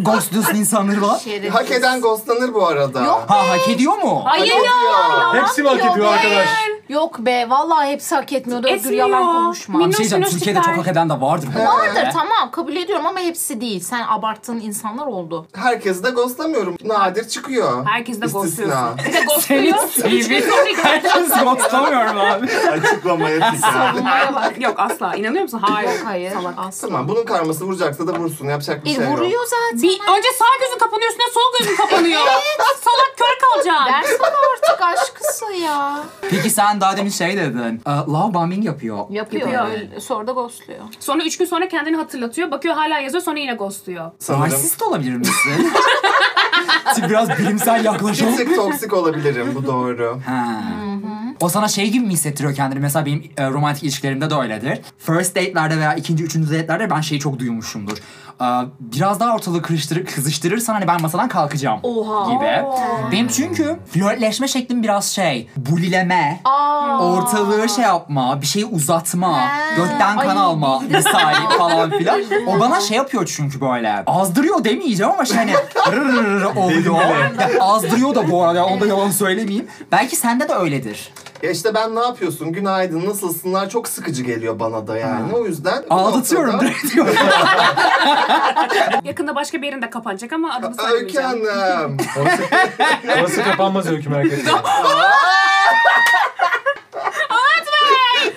Speaker 2: ghostluyorsun insanları falan.
Speaker 1: Şerefsiz.
Speaker 4: Hak eden ghostlanır bu arada.
Speaker 1: Yok.
Speaker 2: Ha hak ediyor mu?
Speaker 1: Hayır ya.
Speaker 4: Ya.
Speaker 1: yalan
Speaker 6: Hepsi mi hak
Speaker 1: diyor
Speaker 6: ediyor
Speaker 1: be.
Speaker 6: arkadaş?
Speaker 1: Yok be vallahi hepsi hak etmiyordu. Öldür
Speaker 5: Etmiyor.
Speaker 1: yalan konuşma.
Speaker 5: Minnoş
Speaker 2: Bir şey diyeceğim
Speaker 5: minnoş
Speaker 2: Türkiye'de
Speaker 5: tipler.
Speaker 2: çok hak eden de vardır. bu arada.
Speaker 1: Vardır tamam kabul ediyorum ama hepsi değil. Sen abarttığın insanlar oldu.
Speaker 4: Herkesi de ghostlamıyorum. Nadir çıkıyor.
Speaker 5: Herkesi de
Speaker 4: İstisna.
Speaker 5: ghostluyorsun. Bir de
Speaker 2: Benim
Speaker 5: ghostluyor.
Speaker 2: CV.
Speaker 5: şey
Speaker 1: [LAUGHS]
Speaker 5: [LAUGHS]
Speaker 2: Herkes ghostlamıyorum abi.
Speaker 4: Açıklamaya çıkıyor.
Speaker 1: Bunlara bak.
Speaker 5: Yok asla. İnanıyor musun? Hayır.
Speaker 1: Yok hayır. Asla.
Speaker 4: Tamam bunun karması vuracaksa da vursun. Yapacak bir
Speaker 1: E,
Speaker 4: şey yok.
Speaker 1: vuruyor zaten.
Speaker 5: Bir, önce sağ gözün kapanıyor üstüne sol
Speaker 1: [LAUGHS]
Speaker 5: gözün kapanıyor. Salak kör kalacaksın.
Speaker 1: Ders al artık aşkısı ya.
Speaker 2: Peki sen sen daha demin şey dedin. E, love bombing yapıyor.
Speaker 1: Yapıyor.
Speaker 5: Yapıyor.
Speaker 1: öyle. Sonra da ghostluyor.
Speaker 5: Sonra üç gün sonra kendini hatırlatıyor. Bakıyor hala yazıyor sonra yine ghostluyor.
Speaker 4: Sanırım
Speaker 2: Narsist olabilir misin? [LAUGHS] Şimdi biraz bilimsel
Speaker 4: bir
Speaker 2: yaklaşalım.
Speaker 4: tık toksik olabilirim. Bu doğru.
Speaker 2: Ha. O sana şey gibi mi hissettiriyor kendini? Mesela benim e, romantik ilişkilerimde de öyledir. First date'lerde veya ikinci, üçüncü date'lerde ben şeyi çok duymuşumdur. E, biraz daha ortalığı kırıştırır, kızıştırırsan hani ben masadan kalkacağım
Speaker 1: Oha.
Speaker 2: gibi. Benim çünkü flörtleşme şeklim biraz şey, bulileme,
Speaker 1: Aa.
Speaker 2: ortalığı şey yapma, bir şeyi uzatma, gökten kan
Speaker 1: Ay, [LAUGHS]
Speaker 2: alma misali falan filan. O bana şey yapıyor çünkü böyle. Azdırıyor demeyeceğim ama şey hani rırırır oluyor. Ya azdırıyor da bu arada onda yalan söylemeyeyim. Belki sende de öyledir.
Speaker 4: Ya işte ben ne yapıyorsun, günaydın, nasılsınlar çok sıkıcı geliyor bana da yani. O yüzden... bu
Speaker 2: Ağlatıyorum
Speaker 4: noktada-
Speaker 2: direkt diyorum.
Speaker 5: Yakında başka bir yerinde kapanacak ama adını
Speaker 4: Öykü
Speaker 5: söylemeyeceğim.
Speaker 4: Hanım.
Speaker 6: Orası, orası kapanmaz öykü merak etme.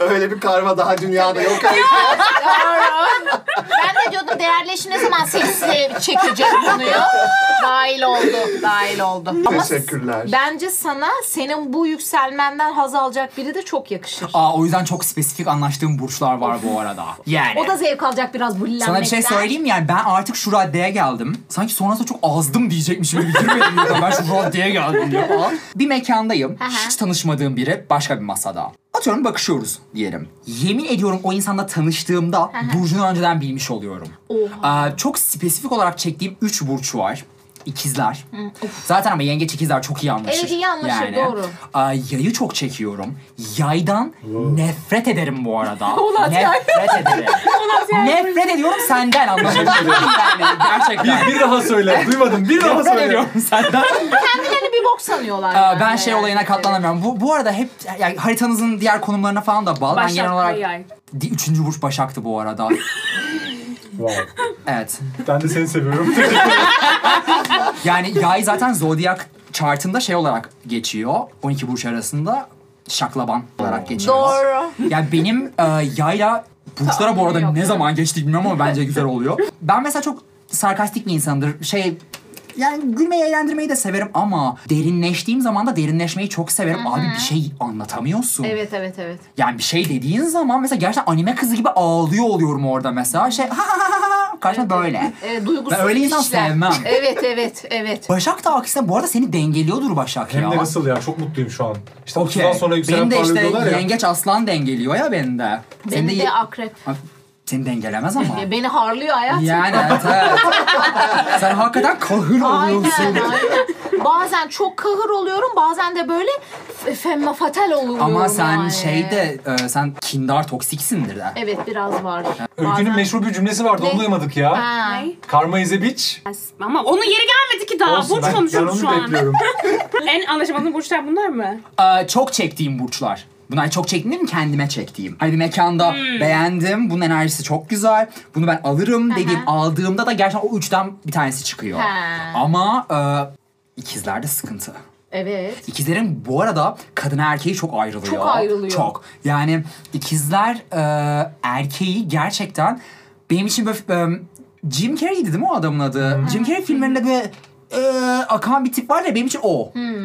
Speaker 4: Öyle bir karma daha dünyada yok. Öykü.
Speaker 1: Doğru. ben de diyordum değerleşi ne zaman sessizliğe çekecek konuyu. dahil oldu. Dahil oldu. Ama
Speaker 4: Teşekkürler.
Speaker 1: Bence sana senin bu yükselmenden haz alacak biri de çok yakışır.
Speaker 2: Aa, o yüzden çok spesifik anlaştığım burçlar var bu arada. Yani.
Speaker 1: O da zevk alacak biraz bulilenmekten.
Speaker 2: Sana bir şey söyleyeyim mi? yani ben artık şu raddeye geldim. Sanki sonrasında çok azdım diyecekmişim gibi girmedim yurda. ben şu raddeye geldim diye falan. Bir mekandayım. Hiç tanışmadığım biri başka bir masada. Atıyorum bakışıyoruz diyelim. Yemin ediyorum o insanla tanıştığımda burcunu önceden bilmiş oluyorum. Aa, çok spesifik olarak çektiğim 3 burç var. İkizler. Zaten ama yengeç ikizler çok iyi anlaşır.
Speaker 1: Evet, iyi anlaşır, doğru.
Speaker 2: Aa, yayı çok çekiyorum. Yaydan nefret ederim
Speaker 1: [LAUGHS]
Speaker 2: bu arada. nefret ederim. Nefret ediyorum senden anlaşılıyor yani şey gerçekten.
Speaker 6: bir, bir daha söyle. Duymadım. Bir daha
Speaker 2: Nefret
Speaker 6: söyle.
Speaker 2: ediyorum senden.
Speaker 1: Kendilerini bir bok sanıyorlar.
Speaker 2: Aa,
Speaker 1: yani.
Speaker 2: ben şey olayına
Speaker 1: Evet.
Speaker 2: katlanamıyorum. Bu, bu arada hep yani haritanızın diğer konumlarına falan da bağlı. ben
Speaker 5: Başak
Speaker 2: genel olarak
Speaker 5: ve yay.
Speaker 2: Di- üçüncü burç Başak'tı bu arada.
Speaker 1: [LAUGHS]
Speaker 6: Wow.
Speaker 2: evet.
Speaker 6: Ben de seni seviyorum.
Speaker 2: Yani yay zaten zodyak chartında şey olarak geçiyor. 12 burç arasında şaklaban olarak geçiyor.
Speaker 1: Doğru.
Speaker 2: Yani benim e, yayla burçlara bu arada ne zaman geçti bilmiyorum ama bence güzel oluyor. Ben mesela çok sarkastik bir insandır. Şey yani gülmeyi eğlendirmeyi de severim ama derinleştiğim zaman da derinleşmeyi çok severim. Abi bir şey anlatamıyorsun.
Speaker 1: Evet evet evet.
Speaker 2: Yani bir şey dediğin zaman mesela gerçekten anime kızı gibi ağlıyor oluyorum orada mesela. Şey ha ha ha ha ha karşıma böyle.
Speaker 1: E, duygusuz
Speaker 2: Ben öyle insan
Speaker 1: kişiler.
Speaker 2: sevmem.
Speaker 1: Evet evet evet.
Speaker 2: Başak da aksine bu arada seni dengeliyordur Başak ya.
Speaker 6: Hem de nasıl ya çok mutluyum şu an. İşte
Speaker 2: Okey.
Speaker 6: 30'dan sonra yükselen
Speaker 2: Benim de işte
Speaker 6: parlıyorlar ya.
Speaker 2: yengeç aslan dengeliyor ya beni de. [LAUGHS] Senin
Speaker 1: Beni de akrep.
Speaker 2: Abi, Seni dengelemez
Speaker 1: [LAUGHS]
Speaker 2: ama.
Speaker 1: E, Beni harlıyor hayatım.
Speaker 2: yani evet, evet. Sen hakikaten kahır [LAUGHS] oluyorsun.
Speaker 1: Aynen, aynen. Bazen çok kahır oluyorum, bazen de böyle f- femma fatal oluyorum.
Speaker 2: Ama sen
Speaker 1: yani.
Speaker 2: şeyde e, sen kindar toksiksindir de.
Speaker 1: Evet biraz var.
Speaker 6: Öykünün
Speaker 1: Bazen-
Speaker 6: meşhur bir cümlesi vardı onu
Speaker 1: Ne?
Speaker 6: duymadık ya.
Speaker 1: Ha.
Speaker 5: Ay.
Speaker 6: Karma is a bitch.
Speaker 5: Ama onun yeri gelmedi ki daha.
Speaker 6: Olsun,
Speaker 5: burç
Speaker 6: ben, ben
Speaker 5: konuşuyoruz
Speaker 6: onu
Speaker 5: şu an.
Speaker 6: bekliyorum.
Speaker 5: en anlaşamadığım burçlar bunlar mı?
Speaker 2: Aa, E, çok çektiğim burçlar. Bunlar çok çektiğim değil mi? Kendime çektiğim. Hani bir mekanda beğendim, bunun enerjisi çok güzel, bunu ben alırım dediğim, aldığımda da gerçekten o üçten bir tanesi çıkıyor.
Speaker 1: Ha.
Speaker 2: Ama e, ikizlerde sıkıntı.
Speaker 1: Evet.
Speaker 2: İkizlerin bu arada kadına erkeği çok ayrılıyor.
Speaker 1: Çok ayrılıyor.
Speaker 2: Çok. Yani ikizler e, erkeği gerçekten benim için böyle e, Jim Carrey'di değil mi o adamın adı?
Speaker 1: Hmm.
Speaker 2: Jim Carrey filmlerinde böyle e, akan bir tip var ya benim için o.
Speaker 1: Hmm.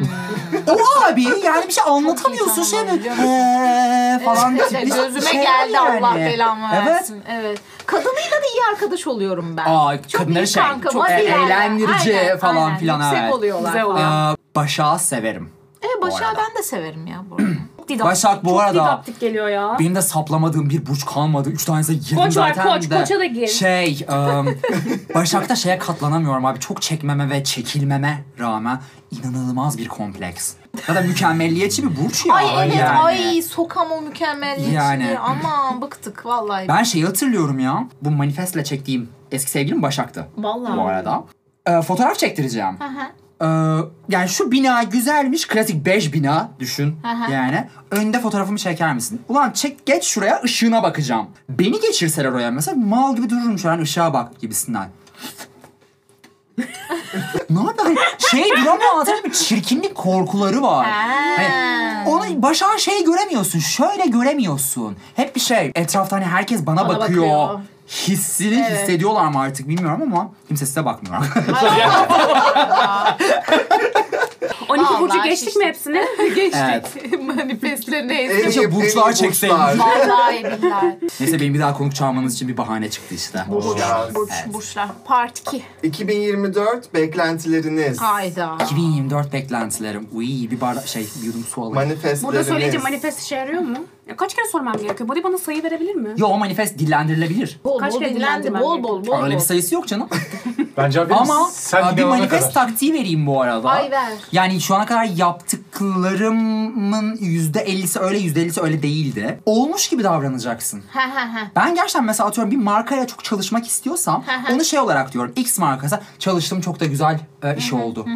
Speaker 2: o abi yani bir şey anlatamıyorsun şey böyle e, falan bir tip.
Speaker 1: Gözüme
Speaker 2: Şey
Speaker 1: geldi
Speaker 2: yani.
Speaker 1: Allah belamı
Speaker 2: Evet.
Speaker 1: versin. Evet. Kadınıyla da iyi arkadaş oluyorum ben.
Speaker 2: Aa,
Speaker 1: Çok
Speaker 2: kadınları
Speaker 1: iyi
Speaker 2: şey
Speaker 1: kankam,
Speaker 2: çok
Speaker 1: hadi
Speaker 2: e-
Speaker 1: yani.
Speaker 2: eğlendirici
Speaker 1: Aynen,
Speaker 2: falan
Speaker 1: aynen.
Speaker 2: filan
Speaker 1: Yüksek
Speaker 2: evet.
Speaker 1: oluyorlar.
Speaker 5: Güzel oluyor.
Speaker 1: falan.
Speaker 2: Aa, Başak'ı severim.
Speaker 1: E,
Speaker 2: arada.
Speaker 1: Başak'ı ben de severim ya bu
Speaker 2: [CLEARS THROAT]
Speaker 1: arada.
Speaker 5: Didaktik.
Speaker 2: Başak bu
Speaker 5: Çok
Speaker 2: arada-
Speaker 5: didaktik geliyor ya.
Speaker 2: Benim de saplamadığım bir burç kalmadı. Üç tanesi yedim
Speaker 5: Koç var,
Speaker 2: zaten
Speaker 5: koç.
Speaker 2: de.
Speaker 5: Koça da gir.
Speaker 2: Şey,
Speaker 5: [LAUGHS]
Speaker 2: ım, Başak'ta şeye katlanamıyorum abi. Çok çekmeme ve çekilmeme rağmen inanılmaz bir kompleks. Ya da mükemmelliyetçi bir burç ya.
Speaker 1: Ay evet
Speaker 2: yani.
Speaker 1: ay sokam o mükemmelliyetçi.
Speaker 2: Yani.
Speaker 1: Aman bıktık vallahi.
Speaker 2: Ben şeyi hatırlıyorum ya. Bu manifestle çektiğim eski sevgilim Başak'tı.
Speaker 1: Vallahi.
Speaker 2: Bu arada. Ee, fotoğraf çektireceğim.
Speaker 1: hı.
Speaker 2: Ee, yani şu bina güzelmiş. Klasik bej bina düşün.
Speaker 1: hı.
Speaker 2: Yani önde fotoğrafımı çeker misin? Ulan çek geç şuraya ışığına bakacağım. Beni geçirseler oraya mesela mal gibi dururum şu an hani ışığa
Speaker 1: [LAUGHS]
Speaker 2: bak gibisinden. ne yapayım? Şey drama anlatır bir çirkinlik korkuları var. Hani onu başa şey göremiyorsun. Şöyle göremiyorsun. Hep bir şey. Etrafta hani herkes bana,
Speaker 1: Bana
Speaker 2: bakıyor.
Speaker 1: bakıyor.
Speaker 2: Hissini
Speaker 1: Evet.
Speaker 2: hissediyorlar
Speaker 1: [LAUGHS]
Speaker 2: mı artık bilmiyorum ama kimse size bakmıyor.
Speaker 1: Vallahi
Speaker 5: 12 burcu geçtik
Speaker 1: şiştim.
Speaker 5: mi hepsini? [LAUGHS]
Speaker 1: Geçtik. [LAUGHS] Manifestleri neyse.
Speaker 4: En iyi-
Speaker 2: Keşke
Speaker 4: en iyi
Speaker 2: burçlar çekseymiş.
Speaker 1: Vallahi billahi.
Speaker 2: Neyse benim bir daha konuk çalmanız için bir bahane çıktı işte.
Speaker 4: Ya,
Speaker 1: Burç,
Speaker 2: Evet.
Speaker 1: burçlar. Part 2.
Speaker 4: 2024 beklentileriniz.
Speaker 1: Hayda.
Speaker 2: 2024 beklentilerim. Uy bir bardak şey bir yudum su alayım.
Speaker 4: Manifestleriniz.
Speaker 5: Burada söyleyince manifest işe yarıyor mu? Ya kaç kere sormam gerekiyor? Body bana sayı verebilir mi?
Speaker 2: Yo o manifest dillendirilebilir.
Speaker 1: Bol
Speaker 5: Kaç
Speaker 1: bol
Speaker 5: kere
Speaker 1: dinlendi.
Speaker 5: dinlendim
Speaker 1: Bol
Speaker 5: ben
Speaker 1: bol bol.
Speaker 2: Öyle bir şey-
Speaker 1: bol.
Speaker 2: sayısı yok
Speaker 6: [LAUGHS]
Speaker 2: canım.
Speaker 6: Bence haberim
Speaker 2: Ama
Speaker 6: sen
Speaker 2: a, bir
Speaker 6: gidene
Speaker 2: manifest
Speaker 6: kadar.
Speaker 2: taktiği vereyim bu arada.
Speaker 1: Ay ver.
Speaker 2: Yani şu ana kadar yaptıklarımın yüzde %50'si öyle yüzde %50'si öyle değildi. Olmuş gibi davranacaksın.
Speaker 1: He he he.
Speaker 2: Ben gerçekten mesela atıyorum bir markaya çok çalışmak istiyorsam
Speaker 1: Hı hı.
Speaker 2: onu şey olarak diyorum. X markası çalıştım çok da güzel e, iş oldu.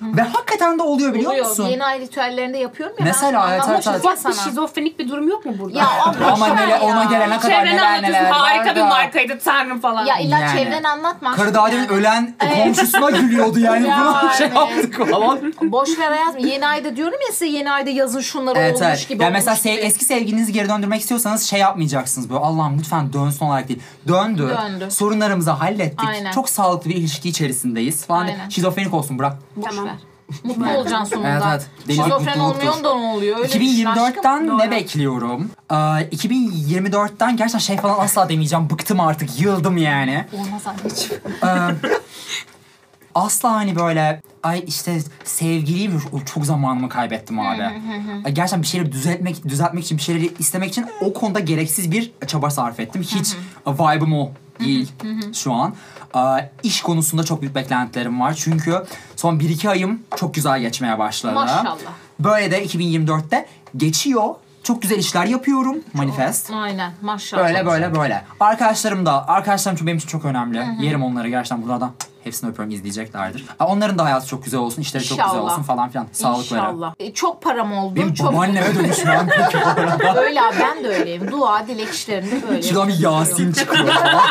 Speaker 2: Ve hakikaten de oluyor biliyor musun?
Speaker 1: Oluyor. Yeni ay ritüellerinde yapıyorum ya.
Speaker 2: Mesela,
Speaker 1: ben
Speaker 2: evet,
Speaker 1: sana
Speaker 2: evet,
Speaker 1: anlatacağım
Speaker 5: Ufak bir
Speaker 1: sana.
Speaker 5: şizofrenik bir durum yok mu burada?
Speaker 1: Ya ama
Speaker 2: Ama
Speaker 1: boşver
Speaker 2: nele, ona
Speaker 1: ya.
Speaker 2: gelene kadar
Speaker 5: Çevrene
Speaker 2: neler
Speaker 5: anlatıyorsun
Speaker 2: neler
Speaker 5: harika
Speaker 2: var
Speaker 5: bir
Speaker 2: da.
Speaker 5: markaydı tanrım falan.
Speaker 1: Ya illa
Speaker 2: Yani.
Speaker 1: çevren anlatma.
Speaker 2: Karı daha demin ölen komşusuna gülüyordu yani.
Speaker 1: [LAUGHS]
Speaker 2: Buna şey
Speaker 1: yani.
Speaker 2: yaptık falan.
Speaker 1: Boş ver hayatım. Yeni ayda diyorum ya size yeni ayda yazın şunları
Speaker 2: Evet
Speaker 1: olmuş
Speaker 2: evet.
Speaker 1: gibi
Speaker 2: Ya
Speaker 1: olmuş
Speaker 2: mesela sev-
Speaker 1: gibi.
Speaker 2: eski sevgilinizi geri döndürmek istiyorsanız şey yapmayacaksınız böyle Allah'ım lütfen dönsün olarak değil. Döndü.
Speaker 1: Döndü.
Speaker 2: Sorunlarımızı hallettik.
Speaker 1: Aynen.
Speaker 2: Çok sağlıklı bir ilişki içerisindeyiz falan.
Speaker 1: Aynen.
Speaker 2: Şizofrenik olsun bırak.
Speaker 1: Boş ver. [LAUGHS] Mutlu olacaksın sonunda.
Speaker 2: Evet, evet. Deli
Speaker 1: Şizofren
Speaker 2: mutluluktur.
Speaker 1: olmuyorsun da ne oluyor? Öyle düşün aşkım.
Speaker 2: 2024'ten ne
Speaker 1: Doğru.
Speaker 2: bekliyorum? Ee, 2024'ten gerçekten şey falan asla demeyeceğim. Bıktım artık. Yıldım yani.
Speaker 1: Olmaz anneciğim.
Speaker 2: Asla hani böyle ay işte sevgiliyim o çok zamanımı kaybettim abi. Ay Gerçekten bir şeyleri düzeltmek düzeltmek için bir şeyleri istemek için o konuda gereksiz bir çaba sarf ettim. Hiç vibe'ım o değil şu an. Ee, İş konusunda çok büyük beklentilerim var. Çünkü son 1-2 ayım çok güzel geçmeye başladı.
Speaker 1: Maşallah.
Speaker 2: Böyle de 2024'te geçiyor. Çok güzel işler yapıyorum. Manifest.
Speaker 1: Aynen maşallah.
Speaker 2: Böyle böyle böyle. Arkadaşlarım da, arkadaşlarım çünkü benim için çok önemli. Yerim onları gerçekten buradan hepsini öpüyorum izleyeceklerdir. Ha, Onların da hayatı çok güzel olsun, işleri çok güzel
Speaker 1: İnşallah.
Speaker 2: olsun falan filan. Sağlıkları.
Speaker 1: İnşallah. E, çok param oldu.
Speaker 2: Benim
Speaker 1: çok
Speaker 2: babaanneme dönüşüm lan.
Speaker 1: [LAUGHS] Öyle abi ben de öyleyim. Dua dilek işlerinde böyle.
Speaker 2: Şuradan bir Yasin çıkıyor falan.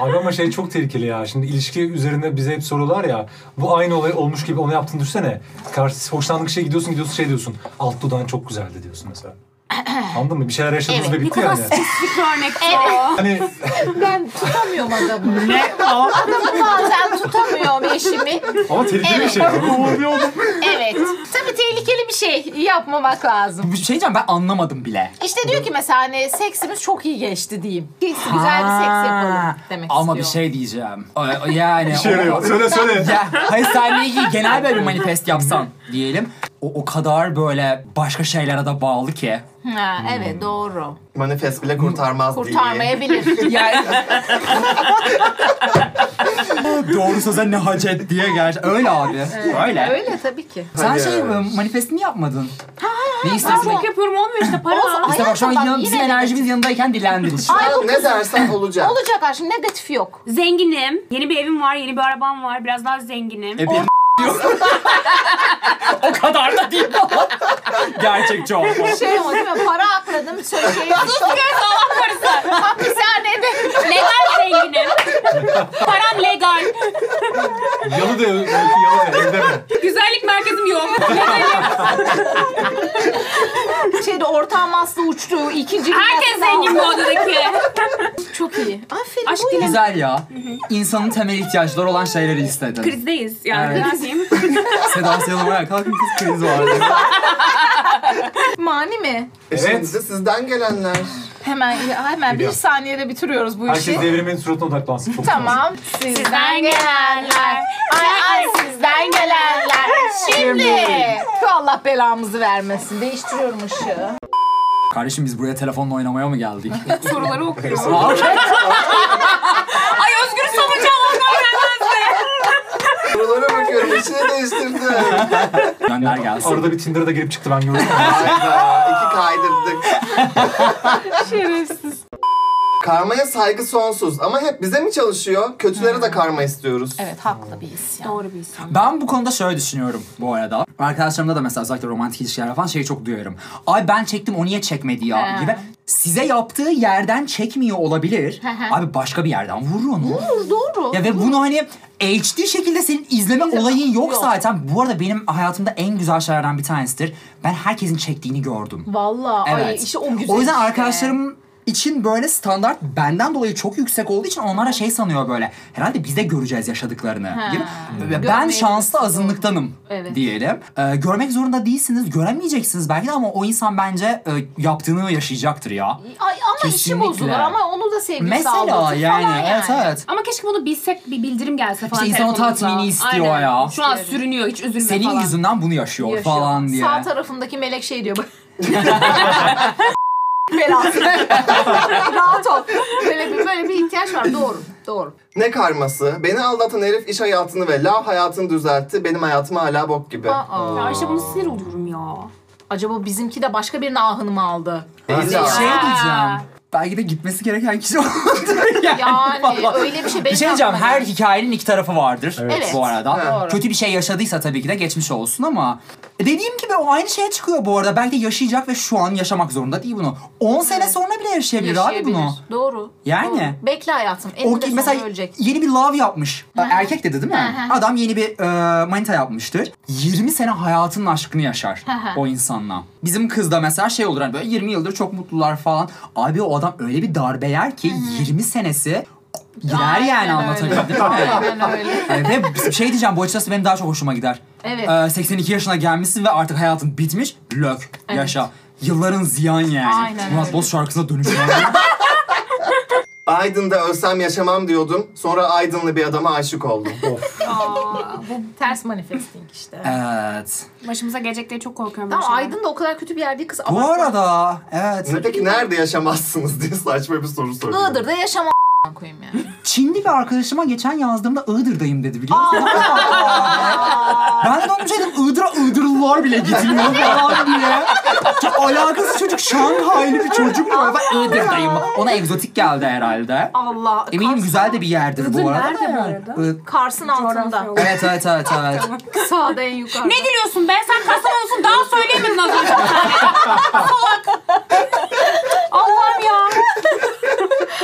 Speaker 6: Abi ama şey çok tehlikeli ya. Şimdi ilişki üzerine bize hep sorular ya. Bu aynı olay olmuş gibi ona yaptığını düşünsene. Karşı hoşlandığın kişiye gidiyorsun gidiyorsun şey diyorsun. Alt dudağın çok güzeldi diyorsun mesela. Anladın mı? Bir şeyler yaşadınız
Speaker 1: Evet,
Speaker 6: ve
Speaker 5: Ne
Speaker 6: bitti
Speaker 5: kadar
Speaker 6: yani.
Speaker 5: spesifik bir örnek bu.
Speaker 6: Hani
Speaker 1: Ben tutamıyorum adamı.
Speaker 2: [LAUGHS] ne
Speaker 1: [LAUGHS]
Speaker 2: o?
Speaker 1: Adamı bazen tutamıyorum eşimi.
Speaker 6: ama tehlikeli bir
Speaker 1: Evet.
Speaker 6: şey.
Speaker 1: Evet. Tabii tehlikeli bir şey yapmamak lazım.
Speaker 2: Bir şey diyeceğim ben anlamadım bile.
Speaker 1: İşte diyor ki mesela hani seksimiz çok iyi geçti diyeyim. Seks, güzel bir seks yapalım
Speaker 2: Ha,
Speaker 1: demek
Speaker 2: Ama bir
Speaker 1: istiyor.
Speaker 2: şey diyeceğim. O- Yani.
Speaker 6: şey
Speaker 2: o-
Speaker 6: yarıyor. Söyle söyle.
Speaker 2: Ya, hayır sen ilgili genel böyle bir manifest yapsan diyelim. O, o kadar böyle başka şeylere de bağlı ki.
Speaker 1: Ha, evet
Speaker 2: Hmm.
Speaker 1: doğru.
Speaker 4: Manifest bile kurtarmaz diye.
Speaker 1: Kurtarmayabilir.
Speaker 2: [LAUGHS] Yani... Doğru söze ne hacet diye gerçekten. Öyle abi. Öyle.
Speaker 1: Öyle tabii ki.
Speaker 2: Sen
Speaker 4: Hadi
Speaker 2: şey
Speaker 4: ya.
Speaker 2: e, manifestini yapmadın. ne istersin?
Speaker 5: Çok yapıyorum olmuyor işte para.
Speaker 2: İşte bak şu an
Speaker 1: Hayatım,
Speaker 2: yan-
Speaker 1: bak,
Speaker 2: bizim
Speaker 1: yine
Speaker 2: enerjimiz yanındayken dilendir işte.
Speaker 4: Ne dersen olacak.
Speaker 1: Olacak aşkım negatif yok.
Speaker 5: Zenginim. Yeni bir evim var, yeni bir arabam var. Biraz daha zenginim.
Speaker 2: E, benim o kadar da değil. Gerçekçi ol.
Speaker 1: Şey ama değil mi? Para akladım. Söyle şey. [LAUGHS] Hapishanede.
Speaker 5: legal zenginim. Param legal.
Speaker 6: Yalı da yalı da evde mi?
Speaker 5: Güzellik merkezim yok.
Speaker 1: Şeyde ortağım Aslı uçtu. İkinci
Speaker 5: Herkes zengin bu odadaki.
Speaker 1: Çok iyi. Aferin.
Speaker 5: Aşk
Speaker 1: bu ya.
Speaker 2: Güzel ya. İnsanın temel ihtiyaçları olan şeyleri istedin.
Speaker 5: Krizdeyiz yani.
Speaker 2: Evet.
Speaker 5: Ne diyeyim?
Speaker 2: Seda Sayan'a bak, kalkın kız kriz var. diye.
Speaker 1: Mani mi?
Speaker 6: Evet.
Speaker 4: Şimdi de sizden gelenler.
Speaker 1: Hemen hemen bir
Speaker 6: Geliyor.
Speaker 1: saniyede bitiriyoruz bu işi.
Speaker 6: Herkes devrimin suratına odaklansın. Çok
Speaker 1: Tamam. Sizden gelenler. Ay ay sizden gelenler. Şimdi. Allah belamızı vermesin. Değiştiriyorum ışığı.
Speaker 2: Kardeşim biz buraya telefonla oynamaya mı geldik?
Speaker 5: Soruları okuyorum.
Speaker 2: Aa,
Speaker 5: Ay Özgür Savaş'a onu öğrenmezdi.
Speaker 4: Buralara bakıyorum içini [LAUGHS] değiştirdim.
Speaker 2: Gönder gelsin.
Speaker 6: Arada bir Tinder'a da girip çıktı ben gördüm.
Speaker 4: Hayda iki kaydırdık.
Speaker 1: Şerefsiz.
Speaker 4: Karmaya saygı sonsuz ama hep bize mi çalışıyor? Kötülere de karma istiyoruz.
Speaker 1: Evet haklı bir isyan.
Speaker 5: Doğru bir insan.
Speaker 2: Ben bu konuda şöyle düşünüyorum bu arada. Arkadaşlarımda da mesela özellikle romantik ilişkiler falan şeyi çok duyarım. Ay ben çektim o niye çekmedi ya
Speaker 1: He.
Speaker 2: gibi. Size yaptığı yerden çekmiyor olabilir.
Speaker 1: hı.
Speaker 2: Abi başka bir yerden vurur onu.
Speaker 1: Doğru.
Speaker 2: Ya ve bunu hani HD şekilde senin izleme olayın yok,
Speaker 1: Yok.
Speaker 2: zaten. Bu arada benim hayatımda en güzel şeylerden bir tanesidir. Ben herkesin çektiğini gördüm.
Speaker 1: Vallahi
Speaker 2: Evet.
Speaker 1: ay işte o güzel.
Speaker 2: o yüzden
Speaker 1: işte.
Speaker 2: arkadaşlarım için böyle standart benden dolayı çok yüksek olduğu için onlar da şey sanıyor böyle. Herhalde biz de göreceğiz yaşadıklarını. gibi. Ve Ben
Speaker 1: Görmeyi-
Speaker 2: şanslı azınlıktanım
Speaker 1: Evet.
Speaker 2: diyelim. Ee, görmek zorunda değilsiniz, göremeyeceksiniz belki de ama o insan bence e, yaptığını yaşayacaktır ya.
Speaker 1: Ay, ama işi
Speaker 2: Kesinlikle.
Speaker 1: bozulur ama onu da sevgisi
Speaker 2: Mesela
Speaker 1: aldatır
Speaker 2: yani,
Speaker 1: falan yani.
Speaker 2: evet evet.
Speaker 5: Ama keşke bunu bilsek bir bildirim gelse falan.
Speaker 2: İşte insanın
Speaker 5: telefonumuza.
Speaker 2: tatmini istiyor ya.
Speaker 5: Şu an sürünüyor hiç üzülme
Speaker 2: Senin
Speaker 5: falan.
Speaker 2: yüzünden bunu yaşıyor, falan diye.
Speaker 1: Sağ tarafımdaki melek şey
Speaker 2: [LAUGHS]
Speaker 1: diyor. bak. Belası. [LAUGHS] Rahat ol. Böyle bir, böyle bir ihtiyaç var. Doğru. Doğru.
Speaker 4: Ne karması? Beni aldatan herif iş hayatını ve lav hayatını düzeltti. Benim hayatım hala bok gibi.
Speaker 1: Aa.
Speaker 5: Ya işte bunu sinir oluyorum ya.
Speaker 1: Acaba bizimki de başka birinin ahını mı
Speaker 2: [LAUGHS]
Speaker 1: aldı?
Speaker 4: İlla.
Speaker 2: şey diyeceğim. Belki de gitmesi gereken kişi [LAUGHS] oldu. Yani,
Speaker 1: Yani
Speaker 2: falan.
Speaker 1: öyle bir şey benim
Speaker 2: Bir şey diyeceğim.
Speaker 1: aklıma
Speaker 2: Her
Speaker 1: geldi.
Speaker 2: hikayenin iki tarafı vardır
Speaker 1: Evet.
Speaker 2: bu arada.
Speaker 1: Doğru.
Speaker 2: Kötü bir şey yaşadıysa tabii ki de geçmiş olsun ama dediğim gibi o aynı şeye çıkıyor bu arada. Belki de yaşayacak ve şu an yaşamak zorunda değil bunu. 10 sene sonra bile yaşayabilir, abi
Speaker 1: Yaşayabilir.
Speaker 2: bunu.
Speaker 1: Doğru.
Speaker 2: Yani.
Speaker 1: Doğru. Bekle hayatım.
Speaker 2: O
Speaker 1: Eninde
Speaker 2: ki-
Speaker 1: mesela
Speaker 2: mesela
Speaker 1: ölecek.
Speaker 2: yeni bir love yapmış. Erkek dedi değil mi?
Speaker 1: hı.
Speaker 2: Adam yeni bir e, manita yapmıştır. 20 sene hayatının aşkını yaşar
Speaker 1: hı.
Speaker 2: o insanla. Bizim kızda mesela şey olur hani böyle 20 yıldır çok mutlular falan. Abi o adam öyle bir darbe yer ki 20 senesi gider yani anlatabildim
Speaker 1: anlatabildim.
Speaker 2: değil mi?
Speaker 1: Aynen öyle.
Speaker 2: Yani ve şey diyeceğim bu açıkçası benim daha çok hoşuma gider.
Speaker 1: Evet.
Speaker 2: Ee, 82 yaşına gelmişsin ve artık hayatın bitmiş. Lök.
Speaker 1: Evet.
Speaker 2: Yaşa. Yılların ziyan yani.
Speaker 1: Aynen
Speaker 2: Murat
Speaker 1: öyle.
Speaker 2: Boz
Speaker 1: [LAUGHS]
Speaker 2: şarkısına dönüşüyor.
Speaker 4: Aydın'da ölsem yaşamam diyordum. Sonra Aydınlı bir adama aşık oldum.
Speaker 1: Aa, bu ters manifesting işte.
Speaker 2: evet.
Speaker 5: Başımıza gelecek diye çok korkuyorum. ben
Speaker 1: Tamam
Speaker 5: şu an.
Speaker 1: Aydın da o kadar kötü bir yer değil kız.
Speaker 2: Bu
Speaker 1: Abartma.
Speaker 2: arada evet.
Speaker 4: ne peki nerede yaşamazsınız diye saçma bir soru soruyor.
Speaker 1: Iğdır'da yaşama koyayım yani.
Speaker 2: Çinli bir arkadaşıma geçen yazdığımda Iğdır'dayım dedi biliyor musun? [LAUGHS] ben de onu şey dedim Iğdır'a Iğdırlılar bile gitmiyor falan diye. Çok alakasız çocuk Şanghaylı bir çocuk mu? Ben Iğdır'dayım. Ona egzotik geldi herhalde.
Speaker 1: [LAUGHS] Allah.
Speaker 2: Eminim
Speaker 1: Kars'ın-
Speaker 2: güzel de bir yerdir bu arada.
Speaker 5: nerede
Speaker 2: da
Speaker 5: bu
Speaker 2: yani.
Speaker 5: arada?
Speaker 2: Iğ-
Speaker 1: Kars'ın altında.
Speaker 2: Evet evet evet evet.
Speaker 1: Sağda en yukarıda.
Speaker 3: Ne diliyorsun be? Sen Kastamonu'sun daha söyleyemedin az önce.
Speaker 1: Allah'ım ya.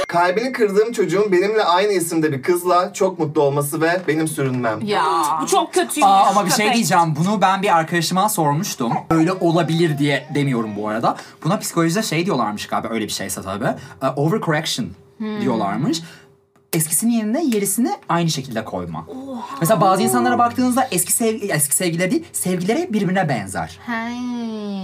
Speaker 4: Kalbini kırdığım çocuğun benimle aynı isimde bir kızla çok mutlu olması ve benim sürünmem.
Speaker 1: Ya.
Speaker 3: Bu çok kötüymüş.
Speaker 2: Aa, ama bir şey
Speaker 3: köpek.
Speaker 2: diyeceğim. Bunu ben bir arkadaşıma sormuştum. Öyle olabilir diye demiyorum bu arada. Buna psikolojide şey diyorlarmış galiba öyle bir şeyse tabii. Ee, Overcorrection diyorlarmış. Eskisinin yerine yerisini aynı şekilde koyma. Mesela bazı insanlara baktığınızda eski sevgi, eski sevgileri değil, sevgileri birbirine benzer.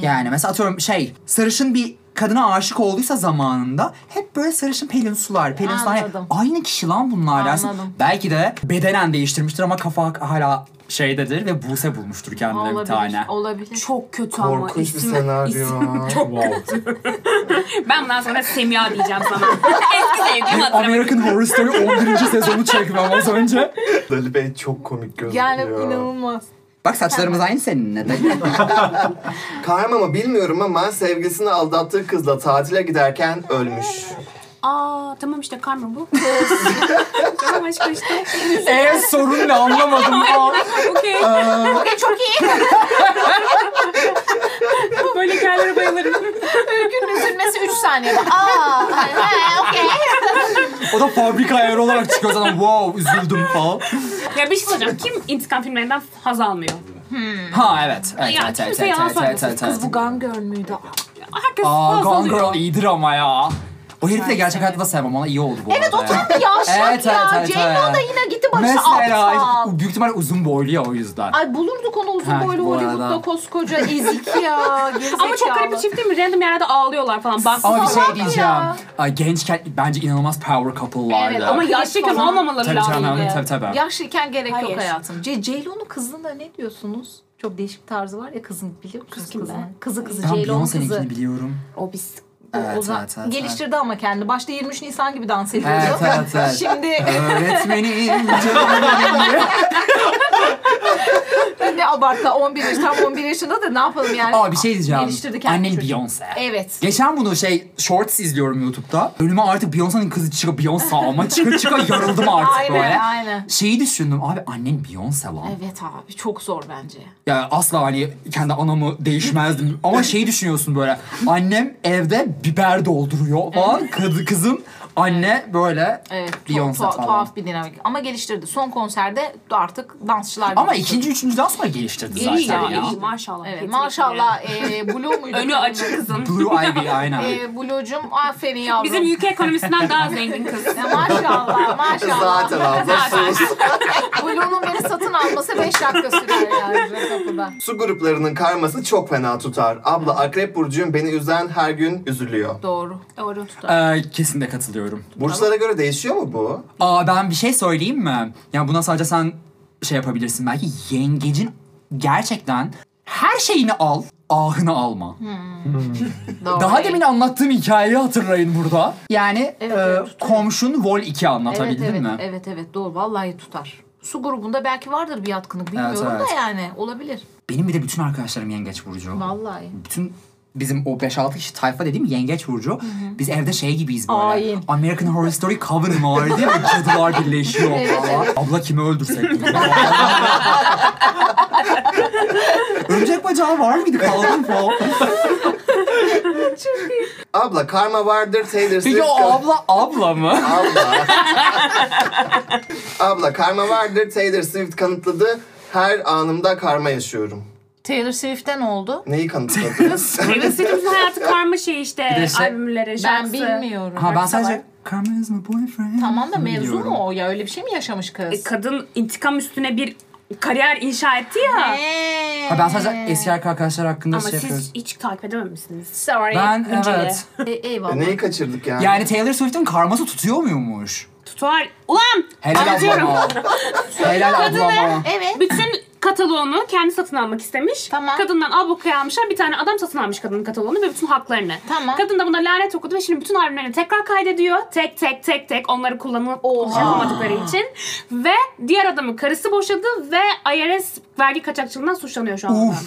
Speaker 2: Yani mesela atıyorum şey, sarışın bir kadına aşık olduysa zamanında hep böyle sarışın pelin sular, pelin sular. Hani
Speaker 1: Anladım.
Speaker 2: Aynı kişi lan bunlar dersin.
Speaker 1: Anladım.
Speaker 2: Belki de bedenen değiştirmiştir ama kafa hala şeydedir ve Buse bulmuştur kendine bir tane.
Speaker 1: Olabilir. Olabilir.
Speaker 5: Çok kötü ama.
Speaker 4: Korkunç bir
Speaker 5: isim- isim-
Speaker 4: senaryo.
Speaker 6: Wow.
Speaker 5: Ben bundan sonra Semiha diyeceğim sana. Eski sevgilim hatırlamak.
Speaker 2: American Horror Story 11. sezonu çekmem az önce.
Speaker 4: Dali Bey çok komik gözüküyor.
Speaker 1: yani inanılmaz.
Speaker 2: Bak saçlarımız aynı seninle de. [LAUGHS]
Speaker 4: Karma mı bilmiyorum ama sevgilisini aldattığı kızla tatile giderken ölmüş.
Speaker 5: Aa tamam işte karma bu. tamam aşkım işte.
Speaker 2: Eee E, sorun
Speaker 1: [LAUGHS]
Speaker 2: ne anlamadım ya.
Speaker 5: Okey.
Speaker 1: Okey çok iyi.
Speaker 5: Böyle hikayelere bayılırım.
Speaker 1: Öykünün üzülmesi 3 saniyede. Aa. ha, Okey.
Speaker 2: O da fabrika ayarı olarak çıkıyor zaten. Wow üzüldüm falan.
Speaker 5: ya bir şey soracağım. Kim intikam filmlerinden haz almıyor?
Speaker 2: Ha evet. Evet
Speaker 5: Ya,
Speaker 2: evet evet.
Speaker 5: kimse
Speaker 2: evet,
Speaker 5: yalan
Speaker 2: evet, evet,
Speaker 5: söylemesin.
Speaker 2: evet,
Speaker 1: Kız
Speaker 2: evet.
Speaker 1: [LAUGHS] bu Gun Girl müydü?
Speaker 5: Herkes
Speaker 2: Aa
Speaker 5: haz
Speaker 2: Gone
Speaker 5: alıyor.
Speaker 2: Girl iyidir ama ya. O herifi de gerçek hayatta da sevmem. Ona iyi oldu bu
Speaker 1: şey- Evet o
Speaker 2: arada.
Speaker 1: tam bir yavşak
Speaker 2: Evet,
Speaker 1: ya.
Speaker 2: evet, evet,
Speaker 1: Ceylan da
Speaker 2: evet.
Speaker 1: yine gitti barışa
Speaker 2: Mesela
Speaker 1: aptal.
Speaker 2: büyük ihtimalle uzun boylu ya o yüzden.
Speaker 1: Ay bulurduk onu uzun
Speaker 2: Ha,
Speaker 1: boylu
Speaker 2: bu arada.
Speaker 1: Hollywood'da koskoca ezik ya.
Speaker 5: Ama çok garip bir çift değil mi? Random yerlerde ağlıyorlar falan. Bak
Speaker 2: Ama bir şey
Speaker 1: Salak
Speaker 2: diyeceğim.
Speaker 1: ya.
Speaker 2: Ay, gençken bence inanılmaz power couple'lardı.
Speaker 1: Evet,
Speaker 5: ama yaşlıyken
Speaker 1: Falan.
Speaker 5: olmamaları
Speaker 2: Tabii tabii,
Speaker 5: lazım.
Speaker 2: tabii tabii. tabii.
Speaker 1: Yaşlıyken gerek
Speaker 5: Hayır.
Speaker 1: yok hayatım. Ce Ceylon'un kızına ne diyorsunuz? Çok değişik bir tarzı var ya kızın biliyor musunuz
Speaker 5: kim
Speaker 1: kızını?
Speaker 5: be?
Speaker 1: Kızı kızı
Speaker 2: Ben
Speaker 1: Ceylon'un
Speaker 2: Beyoncé'ninkini
Speaker 1: kızı.
Speaker 2: biliyorum.
Speaker 1: O biz
Speaker 2: Evet,
Speaker 1: o zaman
Speaker 2: evet, evet,
Speaker 1: geliştirdi ama kendi. Başta 23 Nisan gibi dans ediyordu.
Speaker 2: Evet evet evet.
Speaker 1: Şimdi [LAUGHS]
Speaker 2: Öğretmenim.
Speaker 1: ne abartma 11 yaş tam 11 yaşında da ne yapalım yani.
Speaker 2: Aa bir şey diyeceğim.
Speaker 1: Geliştirdi kendini
Speaker 2: Annem
Speaker 1: çocuk.
Speaker 2: Beyoncé.
Speaker 1: Evet.
Speaker 2: Geçen bunu şey shorts izliyorum YouTube'da. Önüme artık Beyoncé'nin kızı çıkıyor. Beyoncé ama çıka çıka yarıldım artık
Speaker 1: Aynen,
Speaker 2: böyle.
Speaker 1: aynen.
Speaker 2: Şeyi düşündüm abi annen Beyoncé lan.
Speaker 1: Evet abi çok zor bence.
Speaker 2: Ya asla hani kendi anamı değişmezdim.
Speaker 1: [LAUGHS]
Speaker 2: Ama şeyi düşünüyorsun böyle. Annem evde biber dolduruyor falan. Kız- kızım Anne böyle
Speaker 1: Evet, tu-
Speaker 2: Beyoncé
Speaker 1: tu-
Speaker 2: falan.
Speaker 1: tuhaf bir dinamik. Ama geliştirdi. Son konserde artık dansçılar
Speaker 2: Ama
Speaker 1: geliştirdi.
Speaker 2: ikinci, üçüncüden sonra geliştirdi
Speaker 1: İyi
Speaker 2: zaten
Speaker 1: ya,
Speaker 2: ya.
Speaker 1: iyi.
Speaker 5: Maşallah.
Speaker 1: Evet,
Speaker 5: yetenekli.
Speaker 1: maşallah e, Blue muydu?
Speaker 3: Önü açık kızın.
Speaker 1: [LAUGHS]
Speaker 2: Blue Ivy aynen.
Speaker 1: E, Blue'cum aferin yavrum.
Speaker 3: Bizim ülke ekonomisinden daha zengin kız.
Speaker 1: Ya maşallah maşallah.
Speaker 4: Zaten abla sus.
Speaker 1: Blue'nun beni satın alması 5 dakika sürüyor yani kapıda.
Speaker 4: Su gruplarının karması çok fena tutar. Abla Akrep Burcu'yum beni üzen her gün üzülüyor.
Speaker 1: Doğru.
Speaker 3: Doğru tutar.
Speaker 2: Ee, kesin de katılıyorum.
Speaker 4: Burçlara göre değişiyor mu bu?
Speaker 2: Aa ben bir şey söyleyeyim mi? Yani buna sadece sen şey yapabilirsin. Belki yengecin gerçekten her şeyini al, ahını alma.
Speaker 1: Doğru.
Speaker 2: Daha demin anlattığım hikayeyi hatırlayın burada. Yani
Speaker 1: Evet,
Speaker 2: e,
Speaker 1: evet, tutuyor.
Speaker 2: komşun Vol 2
Speaker 1: evet,
Speaker 2: anlatabildim
Speaker 1: evet,
Speaker 2: mi?
Speaker 1: Evet evet doğru vallahi tutar. Su grubunda belki vardır bir yatkınlık bilmiyorum
Speaker 2: Evet, evet.
Speaker 1: da yani olabilir.
Speaker 2: Benim bir de bütün arkadaşlarım yengeç burcu.
Speaker 1: Vallahi.
Speaker 2: Bütün bizim o 5-6 kişi tayfa dediğim yengeç burcu. Biz evde şey gibiyiz böyle.
Speaker 1: Ayin.
Speaker 2: American Horror Story coven vardı
Speaker 1: [LAUGHS]
Speaker 2: ya cadılar birleşiyor
Speaker 1: Evet,
Speaker 2: falan. Abla kimi
Speaker 1: [LAUGHS]
Speaker 2: öldürsek? Örümcek bacağı var mıydı kaldın falan.
Speaker 4: Abla karma vardır Taylor Swift.
Speaker 2: Peki o abla abla mı?
Speaker 4: Abla. Abla karma vardır Taylor Swift kanıtladı. Her anımda karma yaşıyorum.
Speaker 1: Taylor Swift'ten oldu.
Speaker 4: Neyi kanıtladı?
Speaker 5: Bizim hayatı karma şey
Speaker 2: Bir de
Speaker 5: işte
Speaker 2: şey-
Speaker 5: albümlere,
Speaker 1: Ben
Speaker 5: şarkısı.
Speaker 1: bilmiyorum.
Speaker 2: Ha ben
Speaker 5: Yoksa
Speaker 2: sadece
Speaker 5: var.
Speaker 2: Carmen is my boyfriend.
Speaker 1: Tamam da mevzu
Speaker 2: biliyorum.
Speaker 1: mu o ya? Öyle bir şey mi yaşamış kız?
Speaker 5: E, kadın intikam üstüne bir kariyer inşa etti ya.
Speaker 1: Eee.
Speaker 2: Ha ben sadece
Speaker 1: Ee,
Speaker 2: eski erkek arkadaşlar hakkında
Speaker 5: Ama
Speaker 2: şey yapıyorum.
Speaker 5: siz hiç takip edememişsiniz.
Speaker 1: Sorry.
Speaker 2: Ben
Speaker 5: Güncele.
Speaker 2: evet.
Speaker 1: E, eyvallah.
Speaker 4: Neyi kaçırdık yani?
Speaker 2: Yani Taylor Swift'in karması tutuyor muymuş?
Speaker 5: Tutuar. Ulan!
Speaker 2: Helal ablama. Helal ablama.
Speaker 1: Evet.
Speaker 5: Bütün kataloğunu kendi satın almak istemiş.
Speaker 1: Tamam.
Speaker 5: Kadından abokaya almışlar. Bir tane adam satın almış kadının kataloğunu ve bütün haklarını.
Speaker 1: Tamam.
Speaker 5: Kadın da buna lanet okudu ve şimdi bütün albümlerini tekrar kaydediyor. Tek tek tek tek onları kullanıp kullanamadıkları için. Ve diğer adamın karısı boşadı ve IRS vergi kaçakçılığından suçlanıyor şu anda.
Speaker 2: Uf.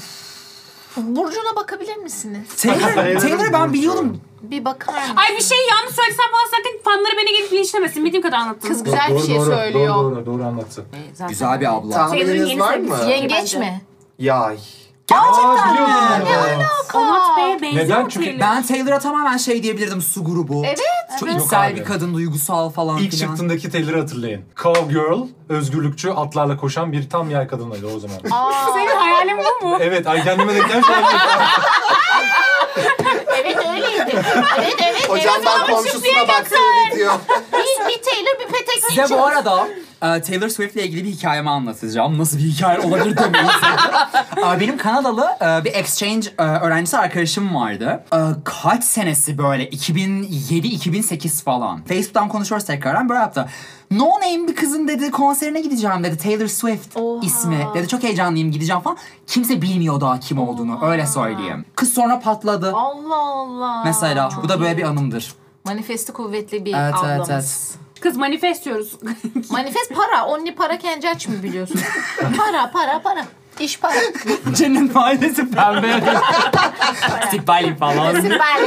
Speaker 1: Burcuna bakabilir misiniz?
Speaker 2: Taylor, Taylor ben
Speaker 4: Burcu.
Speaker 2: biliyordum.
Speaker 1: Bir bakar mısınız?
Speaker 3: Ay bir şey yanlış söylesem falan sakın fanları beni gelip linçlemesin. Bildiğim kadar anlattım.
Speaker 1: Kız güzel bir şey
Speaker 6: doğru,
Speaker 1: söylüyor.
Speaker 6: Doğru doğru doğru anlattı.
Speaker 2: şey-
Speaker 1: E, zaten-
Speaker 2: Güzel bir abla.
Speaker 5: Taylor'ın
Speaker 4: Tahmininiz
Speaker 5: yeni
Speaker 4: var mı?
Speaker 5: sevgilisi.
Speaker 1: Yengeç
Speaker 5: Bence.
Speaker 1: mi?
Speaker 4: Yay.
Speaker 6: Aa, biliyordum.
Speaker 5: Onat Bey'e benziyor
Speaker 6: Neden?
Speaker 5: mu
Speaker 6: Çünkü
Speaker 5: Taylor?
Speaker 2: Ben Taylor'a tamamen şey diyebilirdim su grubu.
Speaker 1: Evet.
Speaker 2: Çok
Speaker 6: evet. Yok
Speaker 2: içsel
Speaker 6: abi.
Speaker 2: bir kadın, duygusal falan
Speaker 6: İlk
Speaker 2: filan.
Speaker 6: çıktığındaki Taylor'ı hatırlayın. Cowgirl, özgürlükçü, atlarla koşan bir tam yay kadınıydı o zaman.
Speaker 1: Aa,
Speaker 5: Senin hayalin bu mu? [LAUGHS]
Speaker 6: evet, ay kendime denk gelmiş. olabilir.
Speaker 1: evet öyleydi. Evet evet.
Speaker 4: Hocam
Speaker 1: evet.
Speaker 4: ben komşusuna
Speaker 5: [LAUGHS]
Speaker 4: baktığını diyor.
Speaker 1: Bir, bir Taylor bir petek
Speaker 2: Size bu arada e, Taylor Swift'le ilgili bir hikayemi anlatacağım. Nasıl bir hikaye olabilir demeyin. [LAUGHS] E, Benim Kanadalı e, bir exchange e, öğrencisi arkadaşım vardı. E, Kaç senesi böyle 2007-2008 falan. Facebook'tan konuşuyoruz tekrardan böyle yaptı. No Name bir kızın dedi konserine gideceğim dedi. Taylor Swift ismi dedi. Çok heyecanlıyım gideceğim falan. Kimse bilmiyor daha kim olduğunu öyle söyleyeyim. Kız sonra patladı.
Speaker 1: Allah Allah.
Speaker 2: Mesela bu da böyle bir anımdır.
Speaker 1: Manifesti kuvvetli bir
Speaker 2: Evet, evet,
Speaker 1: ablamız.
Speaker 2: evet.
Speaker 5: Kız manifest diyoruz.
Speaker 1: Manifest para. Only para kenci aç mı biliyorsun? para para para. İş para.
Speaker 2: Cennet mahallesi pembe. İstikbalim falan.
Speaker 1: Süper.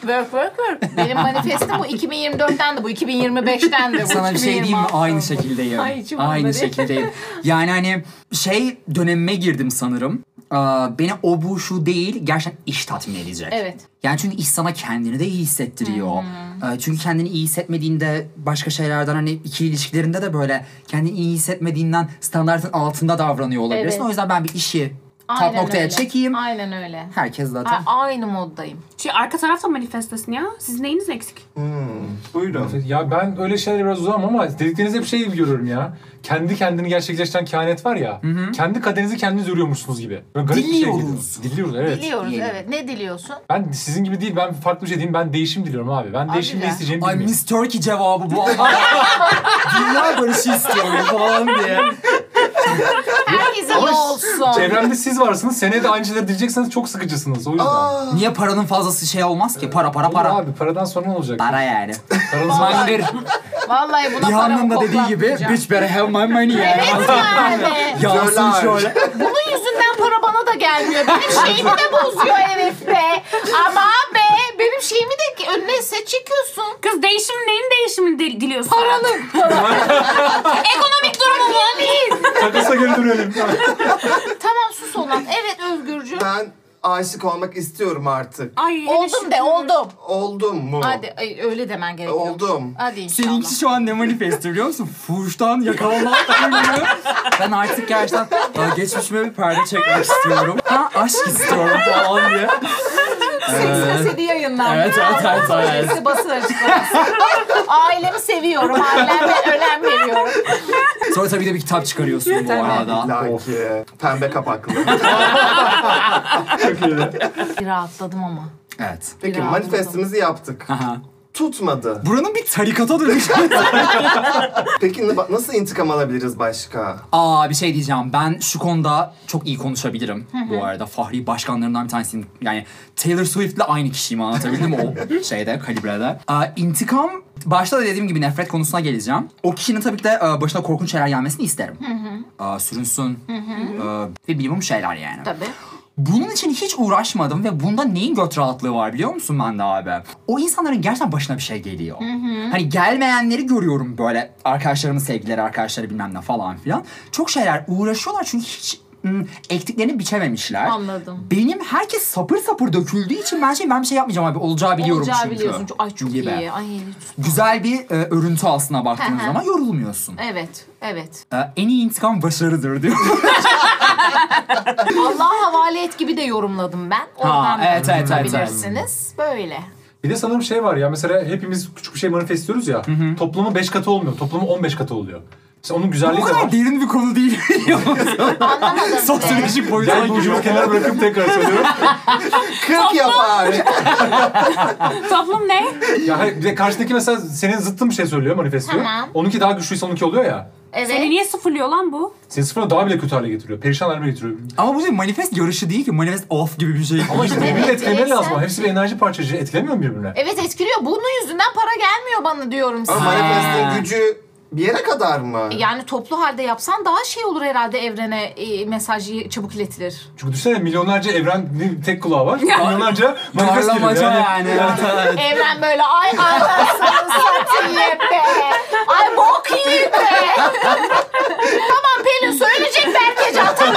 Speaker 1: work work work. Benim manifestim bu 2024'ten de bu 2025'ten de bu.
Speaker 2: Sana bir şey diyeyim mi?
Speaker 1: 2026'dan.
Speaker 2: Aynı şekildeyim.
Speaker 1: Ay, içim
Speaker 2: Aynı
Speaker 1: ağrıdı.
Speaker 2: şekildeyim. Yani hani şey dönemime girdim sanırım. Aa, beni o bu şu değil gerçekten iş tatmin edecek.
Speaker 1: Evet.
Speaker 2: Yani çünkü iş sana kendini de iyi hissettiriyor. Ee, Çünkü kendini iyi hissetmediğinde başka şeylerden hani iki ilişkilerinde de böyle kendini iyi hissetmediğinden standartın altında davranıyor olabilirsin.
Speaker 1: Evet.
Speaker 2: O yüzden ben bir işi
Speaker 1: Aynen
Speaker 2: top noktaya
Speaker 1: öyle.
Speaker 2: çekeyim.
Speaker 1: Aynen öyle.
Speaker 2: Herkes
Speaker 1: A-
Speaker 2: zaten.
Speaker 1: aynı moddayım.
Speaker 5: [LAUGHS] Şey, arka tarafta manifestasın ya. Sizin neyiniz eksik?
Speaker 4: Buyurun.
Speaker 6: ya ben öyle şeylere biraz uzağım ama dediklerinizde hep şey gibi görüyorum ya. Kendi kendini gerçekleştiren kehanet var ya. Kendi kaderinizi kendiniz örüyormuşsunuz gibi. Böyle garip bir şey
Speaker 2: Diliyoruz.
Speaker 6: geliyor. Diliyoruz evet.
Speaker 1: Biliyoruz
Speaker 2: Yeni.
Speaker 1: evet. Ne diliyorsun?
Speaker 6: Ben sizin gibi değil ben farklı bir şey diyeyim. Ben değişim diliyorum abi. Ben değişim ne
Speaker 1: güzel.
Speaker 6: isteyeceğimi
Speaker 2: Ay
Speaker 6: bilmiyorum.
Speaker 2: Miss Turkey cevabı bu. [LAUGHS] Dünya barışı istiyorum falan diye.
Speaker 1: Herkes iyi olsun.
Speaker 6: Çevremde siz varsınız. Seneye de aynı şeyleri dileyecekseniz çok sıkıcısınız. O yüzden.
Speaker 2: Niye paranın fazlası şey olmaz ki? Para para
Speaker 6: Olur
Speaker 2: para.
Speaker 6: Abi paradan sonra ne olacak?
Speaker 2: Para yani. [LAUGHS]
Speaker 6: Paranız var.
Speaker 2: Mangır.
Speaker 1: Vallahi buna
Speaker 2: Rihanna'nın
Speaker 1: paramı
Speaker 2: da dediği gibi
Speaker 1: koklatmayacağım.
Speaker 2: bitch better have my money [LAUGHS] yani.
Speaker 1: Evet yani.
Speaker 2: Yansın
Speaker 4: Döler.
Speaker 2: şöyle.
Speaker 1: Bunun yüzünden para bana da gelmiyor. Benim şeyimi de bozuyor herif be. Ama be benim şeyimi de önüne set çekiyorsun.
Speaker 5: Kız değişim neyin değişimini dil- diliyorsun?
Speaker 1: Paranın.
Speaker 3: Ekonomik durumu bu.
Speaker 6: Takasa geri dönelim.
Speaker 1: Tamam sus olan. Evet Özgürcüğüm.
Speaker 4: Ben aşık olmak istiyorum artık.
Speaker 5: Ay, hele
Speaker 1: Oldum de
Speaker 5: şükür.
Speaker 1: oldum.
Speaker 4: Oldum mu? E,
Speaker 1: Hadi ay, öyle demen gerekiyor.
Speaker 4: Oldum.
Speaker 1: Hadi inşallah.
Speaker 2: Seninki şu an ne manifest biliyor musun? Fuhuştan yakalanmak ürünü. Ben artık gerçekten daha geçmişime bir perde çekmek istiyorum. Ha aşk istiyorum falan diye.
Speaker 1: Seks kaseti yayınlandı.
Speaker 2: Ee, Evet, evet, evet, evet.
Speaker 1: Sesi basın açıklaması. [LAUGHS] Ailemi seviyorum. Aileme önem veriyorum.
Speaker 2: Sonra tabii de bir kitap çıkarıyorsun bu arada.
Speaker 4: Laki. Pembe kapaklı.
Speaker 1: [LAUGHS] Bir rahatladım ama.
Speaker 2: Evet.
Speaker 4: Peki
Speaker 1: Biraz
Speaker 4: manifestimizi yaptık.
Speaker 2: Aha.
Speaker 4: Tutmadı.
Speaker 2: Buranın bir tarikata dönüş.
Speaker 4: Peki na- nasıl intikam alabiliriz başka?
Speaker 2: Aa bir şey diyeceğim. Ben şu konuda çok iyi konuşabilirim bu arada. Fahri başkanlarından bir tanesiyim. Yani Taylor Swift'le aynı kişiyim anlatabildim mi o şeyde, kalibrede. Aa, intikam, başta da dediğim gibi nefret konusuna geleceğim. O kişinin tabii ki de e, başına korkunç şeyler gelmesini isterim. Aa, sürünsün. Aa, ve bilmem şeyler yani.
Speaker 1: Tabii.
Speaker 2: Bunun için hiç uğraşmadım ve bunda neyin göt rahatlığı var biliyor musun ben de abi? O insanların gerçekten başına bir şey geliyor. Hani gelmeyenleri görüyorum böyle arkadaşlarımın sevgileri arkadaşları bilmem ne falan filan. Çok şeyler uğraşıyorlar çünkü hiç ım, ektiklerini biçememişler.
Speaker 1: Anladım.
Speaker 2: Benim herkes sapır sapır döküldüğü için ben şey ben bir şey yapmayacağım abi olacağı biliyorum
Speaker 1: Olacağı
Speaker 2: çünkü.
Speaker 1: biliyorsun. Ay çok
Speaker 2: Gibi.
Speaker 1: iyi. Ay,
Speaker 2: Güzel bir e, örüntü aslına baktığınız
Speaker 1: Hı hı.
Speaker 2: zaman yorulmuyorsun.
Speaker 1: evet, evet.
Speaker 2: E, en iyi intikam başarıdır diyor.
Speaker 1: Allah'a havale et gibi de yorumladım ben. Oradan
Speaker 2: evet, evet, evet, evet.
Speaker 1: bilirsiniz. Böyle. [LAUGHS]
Speaker 6: Bir de sanırım şey var ya mesela hepimiz küçük bir şey manifestiyoruz ya. Toplamı 5 katı olmuyor. Toplamı 15 katı oluyor. Mesela onun
Speaker 2: Bu
Speaker 6: güzelliği de var.
Speaker 2: kadar derin bir konu değil. [LAUGHS]
Speaker 1: Anlamadım bile.
Speaker 2: Sosyolojik boyutuna
Speaker 6: Yani bu ucunu
Speaker 2: giriyor.
Speaker 6: kenara bırakıp tekrar söylüyorum.
Speaker 4: 40 yapar.
Speaker 5: Toplum [LAUGHS] ne?
Speaker 6: ya hayır, bir de karşıdaki mesela senin zıttın bir şey söylüyor manifestiyor.
Speaker 1: Tamam.
Speaker 6: Onunki daha güçlüyse onunki oluyor ya.
Speaker 5: Seni
Speaker 1: Evet.
Speaker 5: niye sıfırlıyor lan bu?
Speaker 6: Seni sıfıra daha bile kötü hale getiriyor. Perişan haline getiriyor.
Speaker 2: Ama bu şey manifest yarışı değil ki. Manifest off gibi bir şey. [LAUGHS]
Speaker 6: Ama işte
Speaker 1: Evet,
Speaker 6: birbirini etkilemeleri
Speaker 1: evet,
Speaker 6: lazım.
Speaker 1: sen-
Speaker 6: Hepsi bir enerji parçacığı. Etkilemiyor mu
Speaker 2: E-
Speaker 6: birbirine?
Speaker 1: Evet etkiliyor. Bunun yüzünden para gelmiyor bana diyorum
Speaker 4: Ama
Speaker 1: size.
Speaker 4: manifestin gücü bir yere kadar mı?
Speaker 1: Yani toplu halde yapsan daha şey olur herhalde evrene e, mesajı çabuk iletilir.
Speaker 6: Çünkü düşünsene milyonlarca evrenin tek kulağı var. milyonlarca manifest geliyor.
Speaker 2: Parlamaca yani.
Speaker 6: Yani,
Speaker 2: Evet, evet.
Speaker 1: Evren böyle ay anasını satayım be. Ay bok yiyeyim be. [LAUGHS] tamam Pelin söyleyecek Berkecan tamam.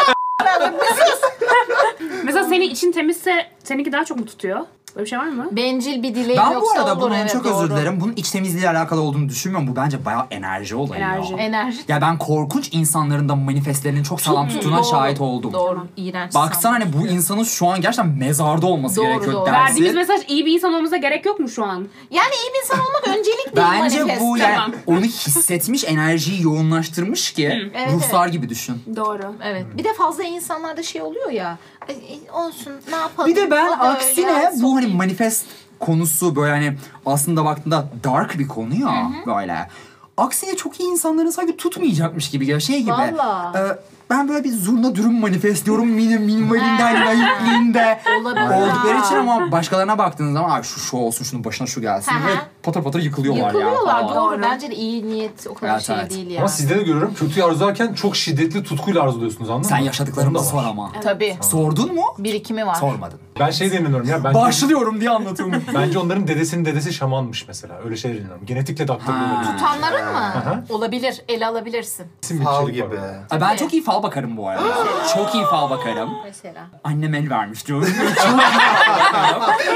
Speaker 5: Mesela senin için temizse seninki daha çok mu tutuyor? Böyle bir şey var mı?
Speaker 1: Bencil bir dileğin
Speaker 2: Ben bu
Speaker 1: yoksa
Speaker 2: arada
Speaker 1: olur.
Speaker 2: bunun
Speaker 1: evet,
Speaker 2: çok
Speaker 1: doğru.
Speaker 2: özür dilerim. Bunun iç temizliğiyle alakalı olduğunu düşünmüyorum. Bu bence bayağı enerji olayı
Speaker 5: Enerji.
Speaker 2: ya.
Speaker 1: Enerji.
Speaker 2: Ya ben korkunç insanların da manifestlerinin çok sağlam tuttuğuna
Speaker 1: Doğru,
Speaker 2: şahit oldum.
Speaker 1: Doğru. İğrenç.
Speaker 2: Baksana
Speaker 1: sandım.
Speaker 2: hani bu insanın şu an gerçekten mezarda olması
Speaker 1: Doğru,
Speaker 2: gerekiyor
Speaker 1: doğru.
Speaker 2: dersi.
Speaker 5: Verdiğimiz mesaj iyi bir insan olmamıza gerek yok mu şu an?
Speaker 1: Yani iyi bir insan olmak öncelik değil
Speaker 2: Bence
Speaker 1: manifest.
Speaker 2: bu
Speaker 1: Tamam.
Speaker 2: yani onu hissetmiş, enerjiyi yoğunlaştırmış ki
Speaker 1: Evet,
Speaker 2: ruhsar gibi düşün.
Speaker 5: Doğru.
Speaker 1: Evet.
Speaker 2: Hmm.
Speaker 1: Bir de fazla insanlarda şey oluyor ya. "Ay, ay, Olsun ne yapalım.
Speaker 2: Bir de ben
Speaker 1: o da öyle,
Speaker 2: aksine
Speaker 1: ay,
Speaker 2: bu hani
Speaker 1: sokayım."
Speaker 2: manifest konusu böyle hani aslında baktığında dark bir konu ya böyle. Aksine çok iyi insanların sanki tutmayacakmış gibi geliyor. Şey gibi.
Speaker 1: Vallahi.
Speaker 2: e, ben böyle bir zurna dürüm manifestliyorum minim
Speaker 1: [LAUGHS]
Speaker 2: minimalinden layıklığında
Speaker 1: Olabilir.
Speaker 2: oldukları hani için ama başkalarına baktığınız zaman abi şu şu olsun şunun başına şu gelsin
Speaker 1: Hı hı.
Speaker 2: ve patır patır yıkılıyorlar,
Speaker 1: Yıkılıyorlar
Speaker 2: ya. falan.
Speaker 1: doğru.
Speaker 5: Doğru.
Speaker 1: Bence de iyi niyet o kadar
Speaker 2: Evet,
Speaker 1: şey
Speaker 2: evet.
Speaker 1: değil
Speaker 6: Ama
Speaker 1: yani.
Speaker 6: sizde de görüyorum kötüyü arzularken çok şiddetli tutkuyla arzuluyorsunuz anladın
Speaker 2: Sen
Speaker 6: mı?
Speaker 2: yaşadıklarımı
Speaker 6: Onda var.
Speaker 2: sor ama.
Speaker 1: Tabii.
Speaker 2: Sordun mu?
Speaker 1: Birikimi var.
Speaker 2: Sormadın.
Speaker 6: Ben şey demiyorum ya. Bence,
Speaker 2: Başlıyorum
Speaker 1: [LAUGHS]
Speaker 2: diye anlatıyorum.
Speaker 6: bence onların dedesinin dedesi şamanmış mesela. Öyle şeyler inanıyorum. Genetikle de aktarılıyor.
Speaker 2: Ha.
Speaker 1: Tutanların mı?
Speaker 6: hı.
Speaker 1: Olabilir. Ele alabilirsin.
Speaker 6: Kesin bir
Speaker 4: Fal
Speaker 6: içerik var.
Speaker 4: gibi.
Speaker 2: Ay, Ben çok iyi fal bakarım bu arada.
Speaker 1: [GASPS]
Speaker 2: çok iyi fal bakarım.
Speaker 1: Mesela.
Speaker 2: Annem el
Speaker 1: [LAUGHS]
Speaker 2: vermiş diyorum.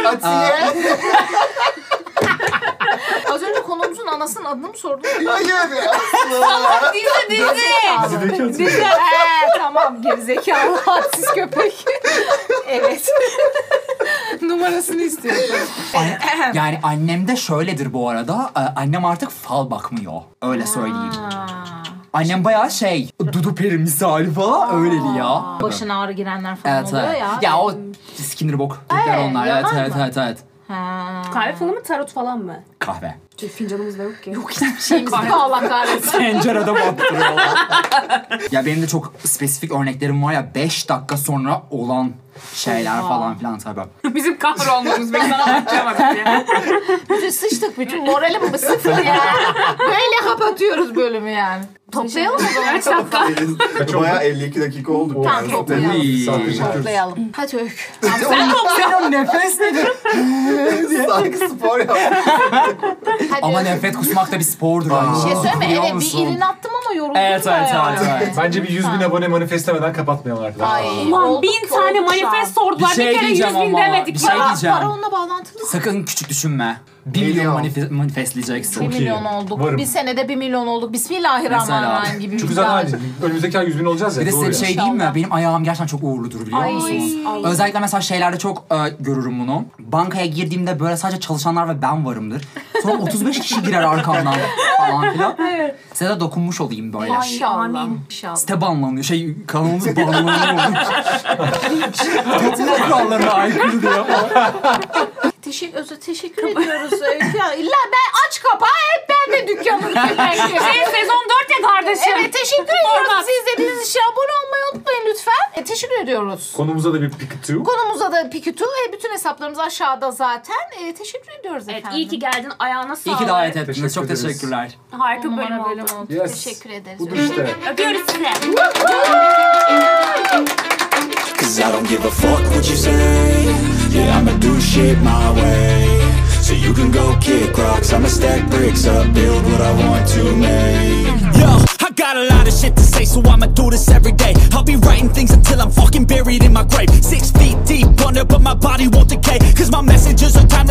Speaker 4: Atiye.
Speaker 1: Az önce konumuzun anasının adını mı [LAUGHS] sordun?
Speaker 4: [LAUGHS] Hayır.
Speaker 3: Dizi dizi.
Speaker 1: Dizi. tamam [LAUGHS] gerizekalı hadsiz köpek. evet. Numarasını istiyorum.
Speaker 2: An- yani annem de şöyledir bu arada. Ee, Annem artık fal bakmıyor. Öyle söyleyeyim. Annem bayağı şey, dudu peri misali falan öyleli ya.
Speaker 1: Başına ağrı girenler falan
Speaker 2: Evet,
Speaker 1: oluyor
Speaker 2: evet.
Speaker 1: ya.
Speaker 2: Ya, o skinner bok. tipler
Speaker 1: Ee,
Speaker 2: onlar. Evet,
Speaker 1: yalan
Speaker 2: evet,
Speaker 1: mı?
Speaker 2: evet, evet.
Speaker 1: Ha. [LAUGHS]
Speaker 5: Kahve falan mı tarot falan mı?
Speaker 2: Kahve.
Speaker 5: Çünkü Fincanımız da yok ki. Yok
Speaker 1: Şeyimiz Allah kahretsin. [LAUGHS]
Speaker 2: Tencerede baktırıyorlar. ya benim de çok spesifik örneklerim var ya. 5 dakika sonra olan şeyler falan filan tabii.
Speaker 5: Bizim [LAUGHS] kahrolmamız ben sana anlatamadım ya.
Speaker 1: Bütün sıçtık bütün moralim sıfır ya. Böyle kapatıyoruz bölümü yani.
Speaker 5: Şey
Speaker 1: Toplayalım mı?
Speaker 5: Kaç dakika?
Speaker 4: Bayağı 52 dakika oldu.
Speaker 1: Tam toplayalım.
Speaker 6: [LAUGHS]
Speaker 1: Toplayalım. Hadi öykü.
Speaker 2: Senin nefes nedir?
Speaker 4: Sanki spor yap.
Speaker 1: Hadi
Speaker 2: Ama
Speaker 1: öykü.
Speaker 2: nefret kusmak da bir spordur. aynı
Speaker 1: Bir şey
Speaker 2: zamanda,
Speaker 1: söyleme.
Speaker 2: biliyor
Speaker 1: Evet bir
Speaker 2: musun?
Speaker 1: irin attım ama ama yoruldum
Speaker 2: Evet
Speaker 1: da
Speaker 2: evet
Speaker 1: yani.
Speaker 2: evet. evet.
Speaker 6: Bence bir 100 bin abone manifestlemeden kapatmayalım
Speaker 1: Ay.
Speaker 6: arkadaşlar.
Speaker 5: Ulan
Speaker 1: Oldu
Speaker 5: bin
Speaker 1: ki
Speaker 5: tane
Speaker 1: oldu şu an.
Speaker 5: manifest sordular.
Speaker 2: Bir
Speaker 5: Bir,
Speaker 2: şey
Speaker 5: kere yüz
Speaker 2: diyeceğim
Speaker 5: bin
Speaker 2: ama,
Speaker 5: demedik.
Speaker 2: bir şey
Speaker 5: ya.
Speaker 2: diyeceğim.
Speaker 1: Para onunla bağlantılı.
Speaker 2: Sakın küçük düşünme. 1
Speaker 4: Milyon.
Speaker 2: milyon manife-
Speaker 1: Bir
Speaker 2: manifestleyeceksin.
Speaker 6: iyi.
Speaker 1: milyon olduk.
Speaker 6: Varım.
Speaker 1: Bir senede bir milyon olduk. Bismillahirrahmanirrahim
Speaker 2: Mesela.
Speaker 1: gibi.
Speaker 6: Çünkü
Speaker 1: bir şey.
Speaker 6: zaten
Speaker 1: iddia.
Speaker 6: aynı. Önümüzdeki ay 100 bin olacağız ya.
Speaker 2: Bir de
Speaker 6: doğru
Speaker 2: size bir
Speaker 6: ya.
Speaker 2: şey diyeyim mi? Benim ayağım gerçekten çok uğurludur biliyor
Speaker 1: Ay.
Speaker 2: musunuz?
Speaker 1: Ay.
Speaker 2: Özellikle mesela şeylerde çok e, görürüm bunu. Bankaya girdiğimde böyle sadece çalışanlar ve ben varımdır.
Speaker 1: [LAUGHS]
Speaker 2: Sonra 35 kişi girer arkamdan falan filan. Size de dokunmuş olayım böyle.
Speaker 1: İnşallah. İnşallah.
Speaker 2: Site banlanıyor. Şey kanalımız
Speaker 1: [LAUGHS]
Speaker 2: banlanıyor. Topluluk [LAUGHS] kurallarına aykırı diyor.
Speaker 1: Teşekkür, özür, teşekkür ediyoruz. Öykü. ya illa ben aç kapağı hep ben de dükkanım. [LAUGHS]
Speaker 5: Şey, sezon 4 ya kardeşim.
Speaker 1: evet teşekkür ediyoruz. Siz izlediğiniz için abone olmayı unutmayın lütfen. E, teşekkür ediyoruz.
Speaker 6: Konumuza da bir pikiti yok.
Speaker 1: Konumuza da Pikitu. E, bütün hesaplarımız aşağıda zaten. E, teşekkür ediyoruz
Speaker 5: Evet,
Speaker 1: efendim.
Speaker 5: iyi ki geldin. Ayağına sağlık.
Speaker 2: İyi ki davet ettiniz.
Speaker 6: Teşekkür
Speaker 2: Çok
Speaker 6: ederiz.
Speaker 2: teşekkürler.
Speaker 5: Harika
Speaker 1: On
Speaker 5: bir bölüm
Speaker 1: numara bölüm
Speaker 5: oldu.
Speaker 1: oldu.
Speaker 6: Yes.
Speaker 1: Teşekkür ederiz.
Speaker 6: Budur işte.
Speaker 5: Öpüyoruz sizi.
Speaker 7: Cause I don't give a fuck what you say. Yeah, I'ma do shit my way. So you can go kick rocks, I'ma stack bricks up, build what I want to make.
Speaker 8: Yo, I got a lot of shit to say, so I'ma do this every day. I'll be writing things until I'm fucking buried in my grave. Six feet deep under, but my body won't decay. Cause my messages are timeless. Oh,